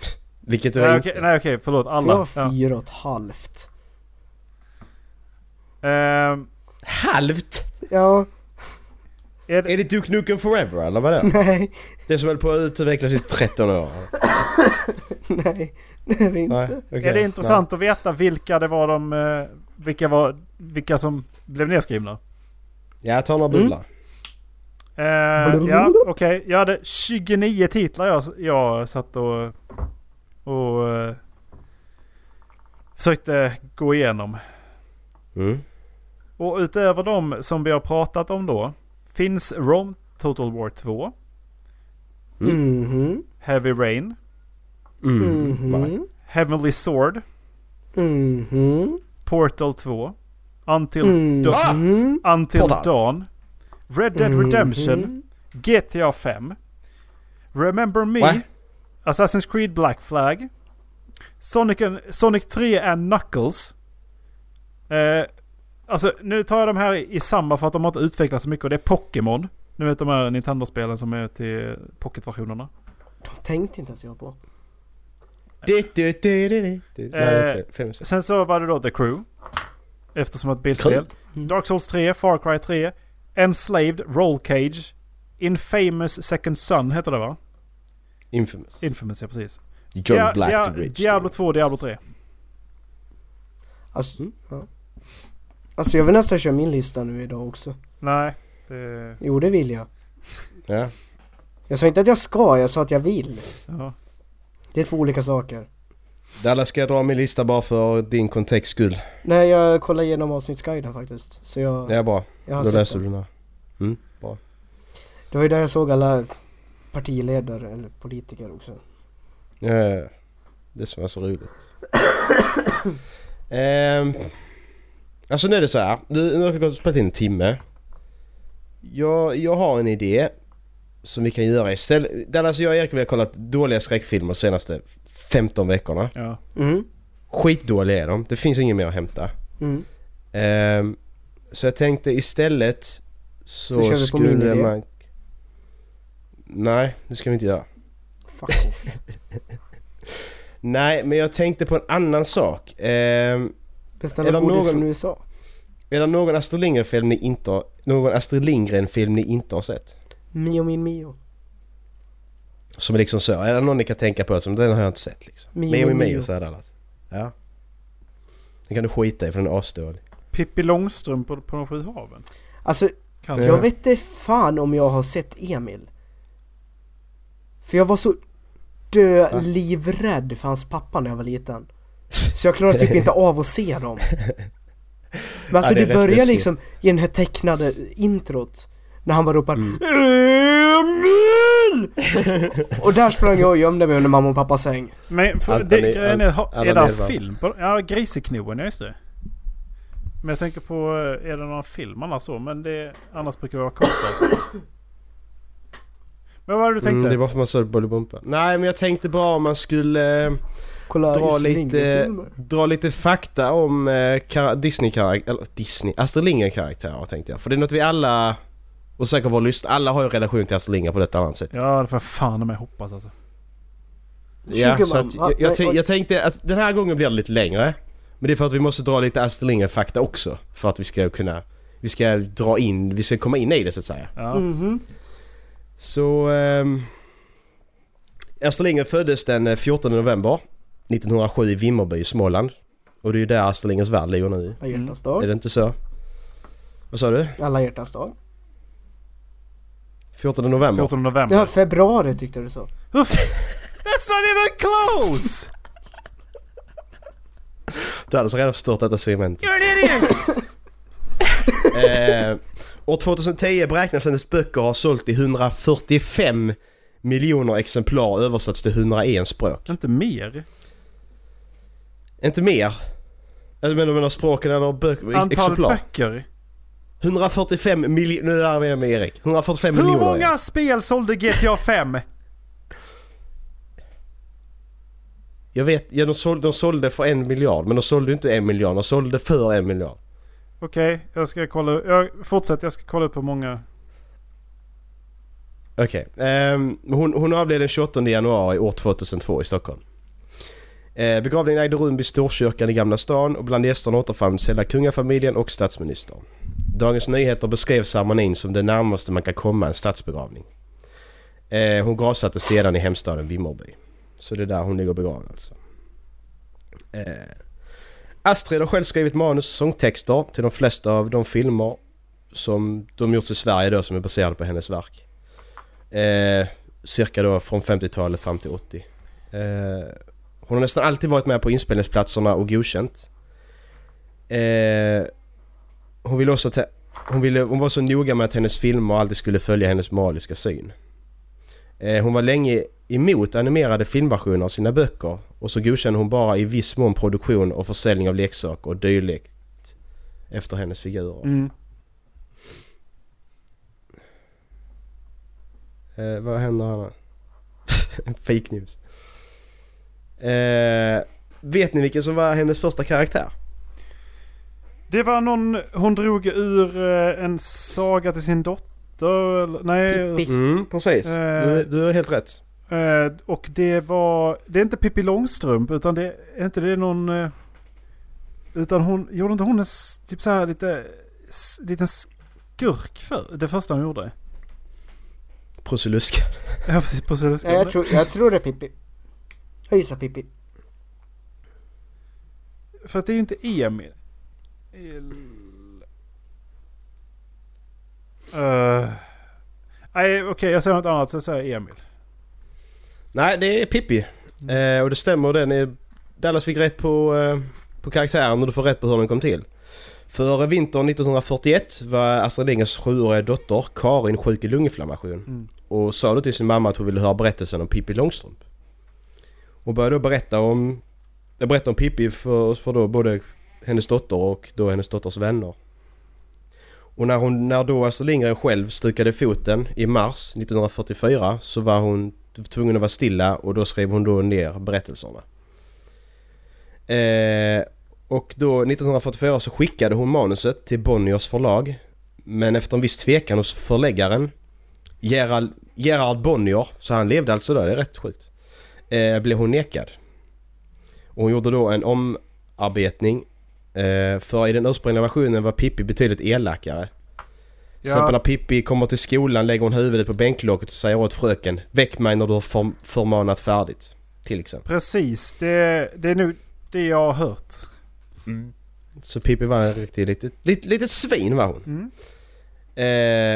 Vilket du Nej har okej, gjort. nej, okej förlåt. Alla. Jag Alla. har Ja. fyra och ett halvt. Ehm, Halvt! Ja, är det, Är det Duke Nukem Forever eller vad det Mm. är? nej, Det som höll på att utvecklas i 13 år? nej, det är det inte. Nej, okej. är det intressant att veta vilka det var de... eh, vilka, var, vilka som blev nedskrivna? Nej. Jag tar några Mm. bullar. Eh, ja, okej. Jag hade 29 titlar jag, jag satt och, och eh, försökte gå igenom. Mm. Och utöver dem som vi har pratat om då finns Rom Total War 2, Mhm, Heavy Rain, Mm. Nej. mhm, Heavenly Sword, mhm, Portal 2, Until, mhm. Dawn- Until Portal. Dawn, Red Dead Redemption, GTA 5, Remember Me, Va? Assassin's Creed Black Flag, Sonic, and, Sonic 3 and Knuckles. Eh, alltså nu tar jag de här i, i samma för att de har inte utvecklats så mycket och det är Pokémon. Nu vet de här Nintendo-spelen som är till Pocket-versionerna. De tänkte inte ens jag på. Du, du, du, du, du, du. Nej, det är Eh, fel- fel musik. Sen så var det då The Crew. Eftersom ett bilspel. Mm. Dark Souls 3, Far Cry 3, Enslaved, Roll Cage, Infamous Second Son heter det va? Infamous. Infamous, ja precis. John Dia- Black Dia- the Rich. Diablo 2, Diablo 3. Alltså, Mm. ja. alltså jag vill nästan köra min lista nu idag också. Nej, det... Jo, det vill jag. Ja. Jag sa inte att jag ska, jag sa att jag vill. Ja. Det är två olika saker. Dalla ska jag dra min lista bara för din kontext skull. Nej, jag kollar igenom avsnittsguiden faktiskt. Så jag, Ja, bra. jag har Då sett läser det. du den här. Det var ju där jag såg alla partiledare eller politiker också. Ja, ja, ja. Det som är så roligt. Ehm, alltså nu är det så här. Nu, nu har vi gått och spelat in en timme. Jag, jag har en idé som vi kan göra istället. Dallas, jag och Erik vi har kollat dåliga skräckfilmer de senaste 15 veckorna. Ja. Mm. Skitdåliga är de. Det finns inget mer att hämta. Mm. Ehm, så jag tänkte istället så, Så kör vi på skulle min idé. man... Nej, det ska vi inte göra. Fuck off. Nej, men jag tänkte på en annan sak. Ehm, Beställa Eller godis någon- från USA. Är det någon Astrid Lindgren-film ni inte har, någon Astrid Lindgren-film ni inte har sett? Mio min Mio. Som är liksom så, är det någon ni kan tänka på som den har jag inte sett liksom? Mio, Mio, Mio, Mio. säger alla. Ja. Den kan du skita i för den är asdålig. Pippi Långstrump på, på de sju haven. Alltså Kanske. jag vet inte fan om jag har sett Emil. För jag var så Va? dölivrädd för hans pappa när jag var liten. Så jag klarade typ inte av att se dem. Men alltså Ja, det är det, rätt börjar läskigt. liksom i den här tecknade introt. När han bara ropar Mm. Emil! och där sprang jag och gömde mig under mamma och pappas säng. Men för, Alla- det, alla- grejen är, ha- alla är det vet vad. film på Ja, Griseknoen, ja just det. Men jag tänker på, eh, är det någon film annars så? Men det, annars brukar det vara kortare. Men vad var det du tänkte? Mm, det var för man såg Bolibompa. Nej men jag tänkte bara om man skulle eh, Kolla Dra Astrid lite- Lindgren-filmer. dra lite fakta om eh, kara- Disney-karaktärer, eller Disney, Astrid Lindgren-karaktärer tänkte jag. För det är något vi alla, och säkert vår lyssnare, alla har ju relation till Astrid Lindgren på ett eller annat sätt. Ja, det får jag fan om jag hoppas alltså. Ja, så att Sugarman. jag, jag, Ja, tän- jag tänkte att den här gången blir det lite längre. Men det är för att vi måste dra lite Astrid Lindgren-fakta också. För att vi ska kunna, vi ska dra in, vi ska komma in i det så att säga. Ja. Mhm. Så... ehm, Astrid Lindgren föddes den eh, 14 november 1907 i Vimmerby i Småland. Och det är ju där Astrid Lindgrens värld ligger nu. Alla hjärtans Är dag. det inte så? Vad sa du? Alla hjärtans dag. 14 november? 14 Det november. var februari tyckte du så. Hur f- That's not even close! Du hade så redan förstört detta segment. You're an idiot! eh, år 2010 beräknas hennes böcker ha sålt i 145 miljoner exemplar och översatts till 101 språk. Inte mer. Inte mer? Jag menar, du menar språken eller böcker? Antal exemplar? böcker. 145 miljoner... Nu är jag med Erik. 145 Hur miljoner. Erik. många spel sålde GTA 5? Jag vet, ja, de, sålde, de sålde för en miljard, men de sålde ju inte en miljard, de sålde för en miljard. Okej, jag ska kolla. Jag, fortsätt, jag ska kolla upp hur många. Okej. ehm, hon, hon avled den 28 januari år 2002 i Stockholm. Eh, begravningen ägde rum i Storkyrkan i Gamla stan och bland gästerna återfanns hela kungafamiljen och statsministern. Dagens Nyheter beskrev ceremonin som det närmaste man kan komma en statsbegravning. Eh, hon gravsattes sedan i hemstaden Vimmerby. Så det är där hon ligger begravd alltså. Eh, Astrid har själv skrivit manus och sångtexter till de flesta av de filmer som de gjorts i Sverige då som är baserade på hennes verk. Eh, cirka då från 50-talet fram till 80. Eh, hon har nästan alltid varit med på inspelningsplatserna och godkänt. Eh, hon ville också ta- hon, ville, hon var så noga med att hennes filmer alltid skulle följa hennes moraliska syn. Eh, hon var länge emot animerade filmversioner av sina böcker och så godkände hon bara i viss mån produktion och försäljning av leksaker och dylikt efter hennes figurer. Mm. Eh, vad händer här nu? Fake news. Eh, vet ni vilken som var hennes första karaktär? Det var någon, hon drog ur eh, en saga till sin dotter. eller- Nej, Pippi. Mm, precis. Du, du har helt rätt. eh, och det var, det är inte Pippi Långstrump utan det är inte det någon... eh, Utan hon, gjorde inte hon en s- typ så här lite, s- liten skurk för det första hon gjorde? Prussiluska. Ja precis, på Nej, Söderskolan. jag, tror, jag tror det är Pippi. Jag gissar Pippi. För att det är ju inte Emil. El... Eh, nej, okej jag säger något annat så jag säger Emil. Nej, det är Pippi. Eh, och det stämmer. Den är, Dallas fick rätt på, eh, på karaktären och du får rätt på hur den kom till. För vintern 1941 var Astrid Lindgrens sjuåriga dotter Karin sjuk i lunginflammation. Mm. Och sa då till sin mamma att hon ville höra berättelsen om Pippi Långstrump. Hon började då berätta om, jag berättade om Pippi för, för då både hennes dotter och då hennes dotters vänner. Och när, hon, när då Astrid Lindgren själv stukade foten i mars 1944 så var hon tvungen att vara stilla och då skrev hon då ner berättelserna. Eh, och då 1944 så skickade hon manuset till Bonniers förlag. Men efter en viss tvekan hos förläggaren Gerald, Gerard Bonnier, så han levde alltså där, det är rätt sjukt. Eh, blev hon nekad. Och hon gjorde då en omarbetning eh, Eh, för i den ursprungliga versionen var Pippi betydligt elakare. Till exempel Ja, när Pippi kommer till skolan lägger hon huvudet på bänklocket och säger åt fröken Väck mig när du har förm- förmanat färdigt. Till exempel. precis. Det, det är nog det jag har hört. Så Pippi var en riktig litet, litet, litet svin var hon. Mm.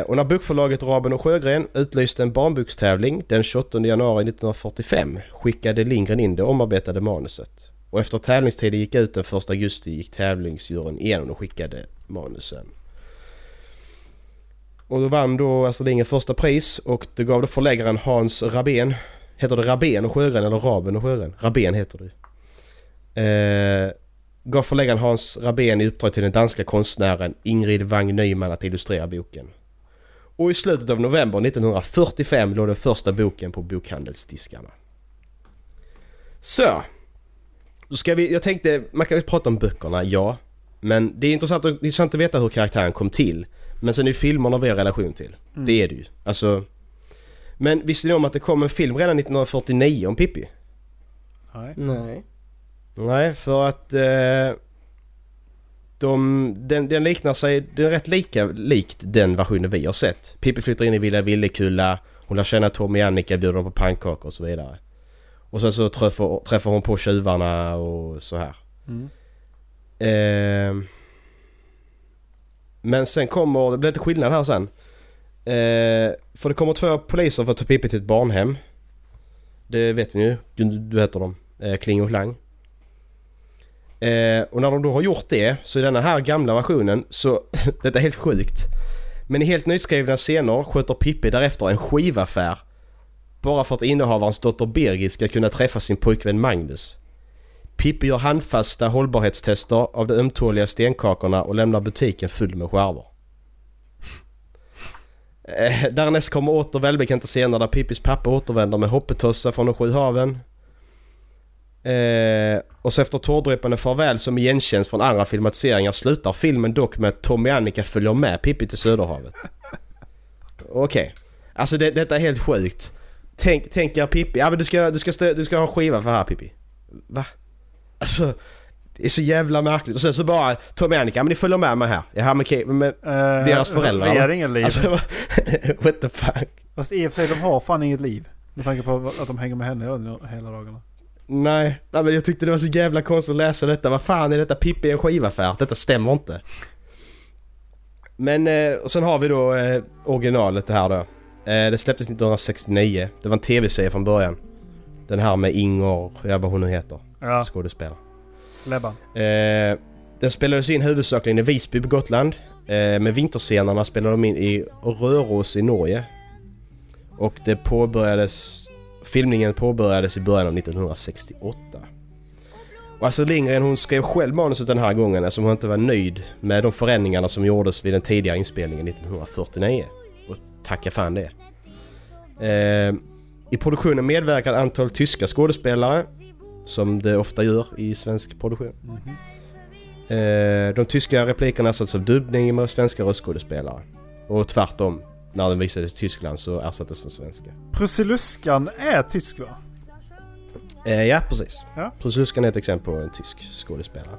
Eh, och när bokförlaget Raben och Sjögren utlyste en barnbokstävling den 28 januari 1945 skickade Lindgren in det omarbetade manuset. Och efter att tävlingstiden gick ut den 1 augusti gick tävlingsjuryn igenom och skickade manusen. Och då vann då Astrid Lindgren första pris och det gav då förläggaren Hans Rabén Heter det Rabén och Sjögren eller Raben och Sjögren? Rabén heter det ju. eh, Gav förläggaren Hans Rabén i uppdrag till den danska konstnären Ingrid Wang Nyman att illustrera boken. Och i slutet av november 1945 låg den första boken på bokhandelsdiskarna. Så! Då ska vi, jag tänkte, man kan ju prata om böckerna, ja. Men det är intressant, att- det är intressant att veta hur karaktären kom till. Men sen är ju filmerna vi har relation till. Det är det ju. Alltså... Men visste ni om att det kom en film redan 1949 om Pippi? Nej. Nej. Nej, för att... Eh, de, den, den liknar sig... Den är rätt lika, likt den versionen vi har sett. Pippi flyttar in i Villa Villekulla, hon lär känna Tommy och Annika, bjuder dem på pannkakor och så vidare. Och sen så träffar, träffar hon på tjuvarna och så här. Mm. Eh, men sen kommer, det blir lite skillnad här sen. Eh, för det kommer två poliser för att ta Pippi till ett barnhem. Det vet vi ju. Du, du heter dem. Eh, Kling och Klang. Eh, och när de då har gjort det, så i denna här gamla versionen, så... detta är helt sjukt. Men i helt nyskrivna scener sköter Pippi därefter en skivaffär. Bara för att innehavarens dotter Birgit ska kunna träffa sin pojkvän Magnus. Pippi gör handfasta hållbarhetstester av de ömtåliga stenkakorna och lämnar butiken full med skärvor. Eh, därnäst kommer åter välbekanta scener där Pippis pappa återvänder med hoppetossa från de sju haven. Eh, och så efter tårdrypande farväl som igenkänns från andra filmatiseringar slutar filmen dock med att Tommy och Annika följer med Pippi till Söderhavet. Okej. Alltså det, detta är helt sjukt. Tänk, tänk er Pippi, ja men du ska, du ska, stö, du ska ha en skiva för här Pippi. Va? Alltså, det är så jävla märkligt. Och sen så bara Tommy och Annika, ja, men ni följer med mig här. Ja men okej, men Eh, Deras föräldrar, De har va? inget liv. alltså vad- what the fuck. Fast i och för sig, de har fan inget liv. Med tanke på att de hänger med henne hela- hela dagarna. Nej, nej men jag tyckte det var så jävla konstigt att läsa detta. Vad fan är detta Pippi i en skivaffär? Detta stämmer inte. Men eh, och sen har vi då eh, originalet det här då. Eh, det släpptes 1969. Det var en tv-serie från början. Den här med Inger, ja vad hon nu heter, Ja, skådespelare. Lebban. Eh, den spelades in huvudsakligen i Visby på Gotland. Eh, men vinterscenerna spelade de in i Röros i Norge. Och det påbörjades... Filmningen påbörjades i början av 1968. Och Astrid Lindgren hon skrev själv manuset den här gången eftersom hon inte var nöjd med de förändringarna som gjordes vid den tidigare inspelningen 1949. Och tacka fan det. Eh, I produktionen medverkade ett antal tyska skådespelare som det ofta gör i svensk produktion. Mhm. Eh, de tyska replikerna ersattes av dubbning med svenska röstskådespelare. Och tvärtom, när den visades i Tyskland så ersattes den svenska. Prussiluskan är tysk va? Eh, ja, precis. Ja. Prussiluskan är ett exempel på en tysk skådespelare.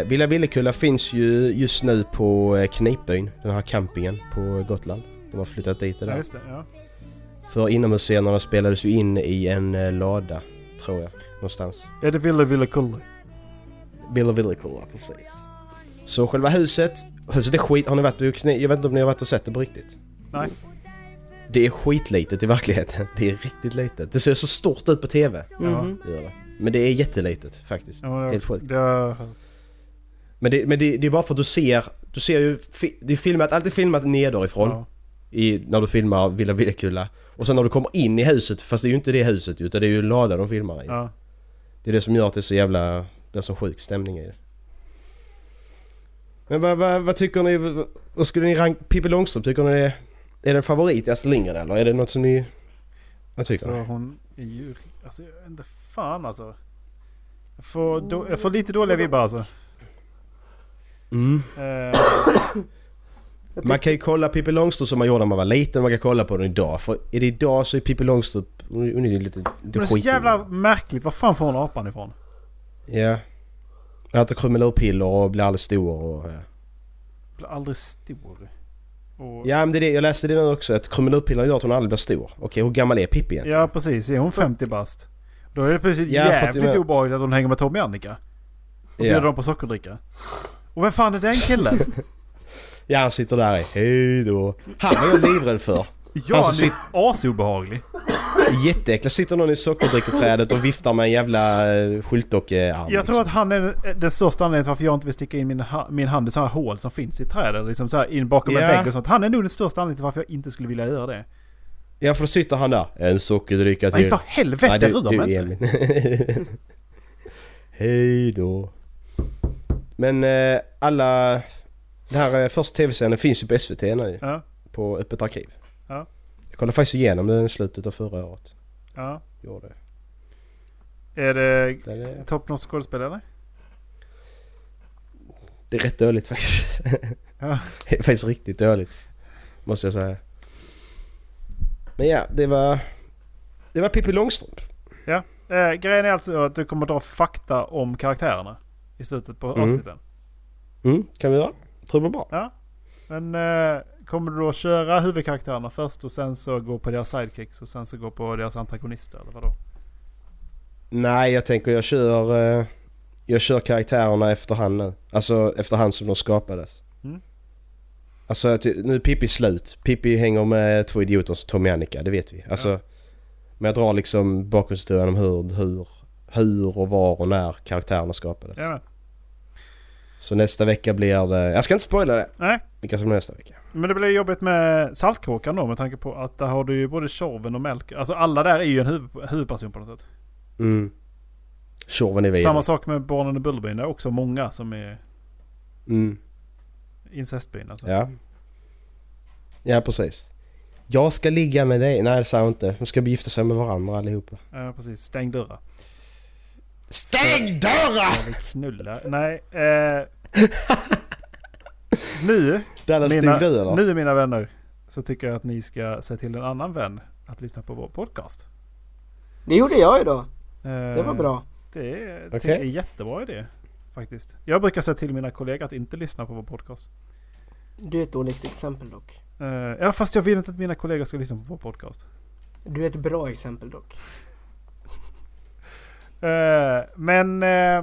Eh, Villa Villekulla finns ju just nu på eh, Knipbyn, den här campingen på Gotland. De har flyttat dit det Ja, där. just det. Ja. För inomhusscenerna spelades ju in i en eh, lada, tror jag. Någonstans. Är det Ville Ville Kulle? Villa Villekulla, precis. Så själva huset, huset är skit... Har ni varit på Kni- Jag vet inte om ni har varit och sett det på riktigt? Nej. Det är skitlitet i verkligheten. Det är riktigt litet. Det ser så stort ut på TV. Mhm. Gör det. Men det är jättelitet faktiskt. Ja, det- Helt sjukt. Det har jag hört. Men, det, men det, det är bara för att du ser... Du ser ju... Fi, det är filmat, alltid filmat nederifrån. Ja. I, när du filmar Villa Villekulla. Och sen när du kommer in i huset, fast det är ju inte det huset utan det är ju en lada de filmar i. Ja. Det är det som gör att det är så jävla... Det är så sjuk stämning i det. Men vad, vad, vad tycker ni? Vad, vad skulle ni rank... Pippi Långstrump, tycker ni det är... Är det en favorit i Astrid Lindgren eller är det något som ni... Vad tycker Så ni? hon är ju... Alltså jag vet inte fan alltså. Jag får, då, jag får lite dåliga vibbar alltså. Mm. Eh, Man kan ju kolla Pippi Långstrump som man gjorde när man var liten, man kan kolla på den idag. För är det idag så är Pippi Långstrump... Hon hon är ju lite... men det är så jävla märkligt. Var fan får hon apan ifrån? Ja. Jag äter krumelurpiller och blir alldeles stor och... eh. Blir aldrig stor. Och, Ja men det är det, jag läste det nu också att krumelurpiller gör att hon aldrig blir stor. Okej, hur gammal är Pippi egentligen? ja, precis. Är hon 50 bast? Då är det precis Ja, för att jävligt jag- obehagligt att hon hänger med Tommy och Annika. Och bjuder Ja. dem på sockerdricka. Och vem fan är den killen? ja, han sitter där i hej då. Han är jag livrädd för. Ja, Han som han är asobehaglig. Jätteäckligt. Sitter någon i sockerdricketrädet och viftar med en jävla eh, liksom. skyltdockearm. Jag tror att han är den största anledningen till varför jag inte vill sticka in min, ha- min hand i sådana här hål som finns i träd. Liksom så här in bakom Ja. en vägg och sånt. Han är nog den största anledningen till varför jag inte skulle vilja göra det. Ja, för då sitter han där. En sockerdricka Nej, till. för helvete du- rör du, mig inte. Emil. Hej då. Men eh, alla... Den här eh, första tv-serien finns ju på SVT nu. Ja, På Öppet Arkiv. Ja. Jag kollade faktiskt igenom den i slutet av förra året. ja. Gjorde. Är det Det, är- top notch skådespelare? det är rätt dåligt faktiskt. Ja. Det är faktiskt riktigt dåligt. Måste jag säga. Men ja, det var... Det var Pippi Långstrump. Ja. Eh, grejen är alltså att du kommer dra fakta om karaktärerna i slutet på Mm. avsnitten. Mm, kan vi göra det? Tror det blir bra. Ja. Men eh, kommer du då köra huvudkaraktärerna först och sen så gå på deras sidekicks och sen så gå på deras antagonister eller vadå? Nej, jag tänker jag kör... eh, Jag kör karaktärerna efterhand nu. Alltså efterhand som de skapades. Mm. Alltså jag ty- nu är Pippi slut. Pippi hänger med två idioter som Tommy och Annika, det vet vi. Alltså, Ja. Men jag drar liksom bakgrundshistorien om hur, hur, hur och var och när karaktärerna skapades. Jajamän. Så nästa vecka blir det... Jag ska inte spoila det. Nej. Vilka som är nästa vecka. Men det blir jobbigt med Saltkråkan då med tanke på att där har du ju både Tjorven och Melker. Alltså alla där är ju en huvud, huvudperson på något sätt. Mm. Tjorven är vi. Samma sak med Barnen i Bullerbyn. Det är också många som är Mm. incestbyn. Alltså. Ja. Ja, precis. Jag ska ligga med dig. Nej, det sa jag inte. De ska gifta sig med varandra allihopa. Ja, precis. Stäng dörrar. Stäng dörren! Jag vill knulla. Nej. Eh. nu, Dallas, mina, stod du eller? nu mina vänner så tycker jag att ni ska säga till en annan vän att lyssna på vår podcast. Det gjorde jag idag. Eh, Det var bra. Det är, Okej. det är en jättebra idé faktiskt. Jag brukar säga till mina kollegor att inte lyssna på vår podcast. Du är ett dåligt exempel dock. Eh, ja, fast jag vill inte att mina kollegor ska lyssna på vår podcast. Du är ett bra exempel dock. Eh, men eh,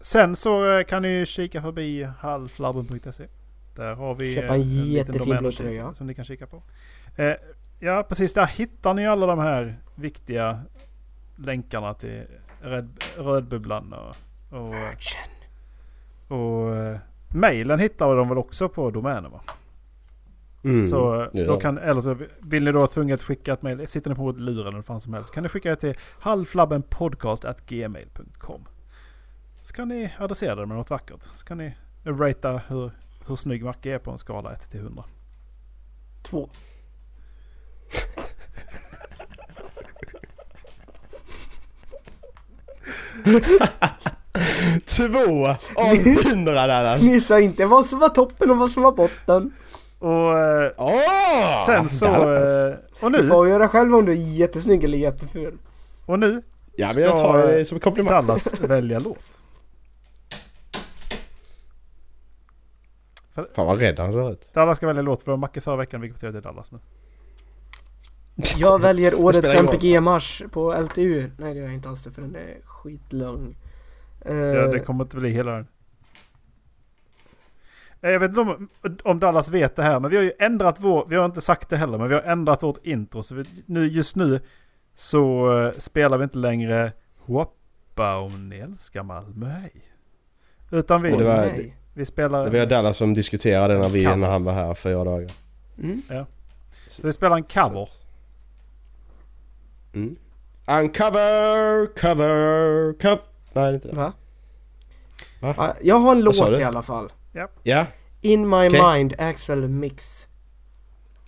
sen så eh, kan ni ju kika förbi halflabben.se. Där har vi Köpa eh, en liten jättefin blå domänartikel tröja. Som ni kan kika på. Eh, ja, precis. Där hittar ni alla de här viktiga länkarna till Red, Rödbubblan och, och, och eh, mejlen hittar de väl också på domänen va? Mm. Så eh, Ja. då kan, eller så vill ni då tvunget skicka ett mejl, sitter ni på luren eller vad fan som helst, kan ni skicka det till halflabbenpodcast.gmail.com. Så kan ni adressera det med något vackert. Så kan ni ratea hur, hur snygg Macke är på en skala 1 till 100. Två. Alltså- Två av hundra Dallas! Ni sa inte vad som var toppen och vad som var botten. Och eh, Åh! sen så... Dallas. eh, Och nu, Du Mm. får göra själv om du är jättesnygg eller jätteful. och nu Ja men jag tar ska- det som en komplimang. Dallas välja låt. Fan vad rädd han ser ut. Dallas ska välja låt för det var Macke förra veckan, vilket betyder att det är Dallas nu. Jag väljer årets spelar ingen roll. MPG-marsch på LTU. Nej det gör jag inte alls det för den är skitlång. Eh, Ja, det kommer inte bli hela den. Eh, Jag vet inte om, om Dallas vet det här, men vi har ju ändrat vår, vi har inte sagt det heller, men vi har ändrat vårt intro. Så vi, nu, just nu så eh, spelar vi inte längre Hoppa om ni älskar Malmö hej. Utan vi, Och det var- nej. vi spelar, Det var Dallas som diskuterade när, vi, Kan. när han var här fyra dagar. Mm. vi spelar en cover. Mm. Uncover, cover, cover. Nej, det är inte det. Va? Va? Ja, Jag har en Vad sa låt du? i alla fall. Ja, In My Okej. Mind, Axel Mix.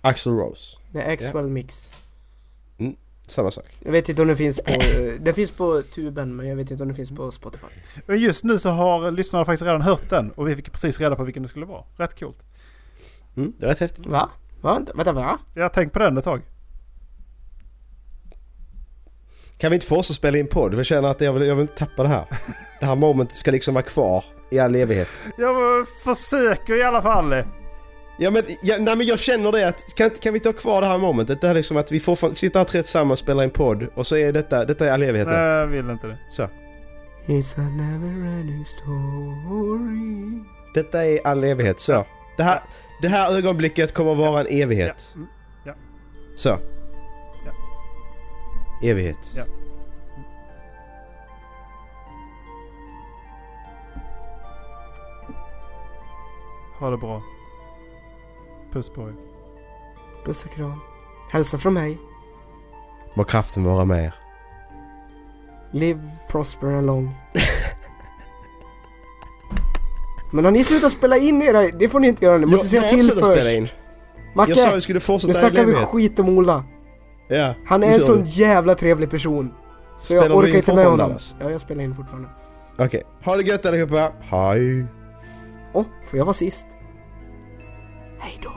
Axel Rose. Nej, Axel Mix. Samma sak. Jag vet inte om den finns på... eh, Den finns på tuben men jag vet inte om den finns på Spotify. Men just nu så har lyssnarna faktiskt redan hört den och vi fick precis reda på vilken det skulle vara. Rätt coolt. Mm, det var rätt häftigt. Va? Va? Vänta, va? Jag har tänkt på den ett tag. Kan vi inte få oss att spela in podd? Jag känner att jag vill, jag vill tappa det här. det här momentet ska liksom vara kvar i all evighet. Jag eh, försöker i alla fall. Ja men, ja, nej, men jag känner det att, kan, kan vi ta kvar det här momentet? Det här liksom att vi får sitter här tre tillsammans, spelar en podd och så är detta, detta är all evighet nu. Nej, jag vill inte det. Så. It's a never ending story. Detta är all evighet, så. Det här, det här ögonblicket kommer att vara en Ja. evighet. mm, Så. Evighet. Ja. Ha det bra. Puss på er. Puss och kram. Hälsa från mig. Må kraften vara med er. Live, prosper and long. Men har ni slutat spela in era... Det får ni inte göra nu. Måste Jag- säga jag har till slutat spela först. in. Jag sa Macke, vi skulle nu fortsätta all snackar vi evighet. skit om Ola. Ja, Han nu är en kör sån vi. jävla trevlig person. Så Spelar jag du in orkar inte med fortfarande, honom. Dallas? Ja, jag spelar in fortfarande. Okej, ha det gött allihopa. Hej. Åh, oh, får jag vara sist? Hej då.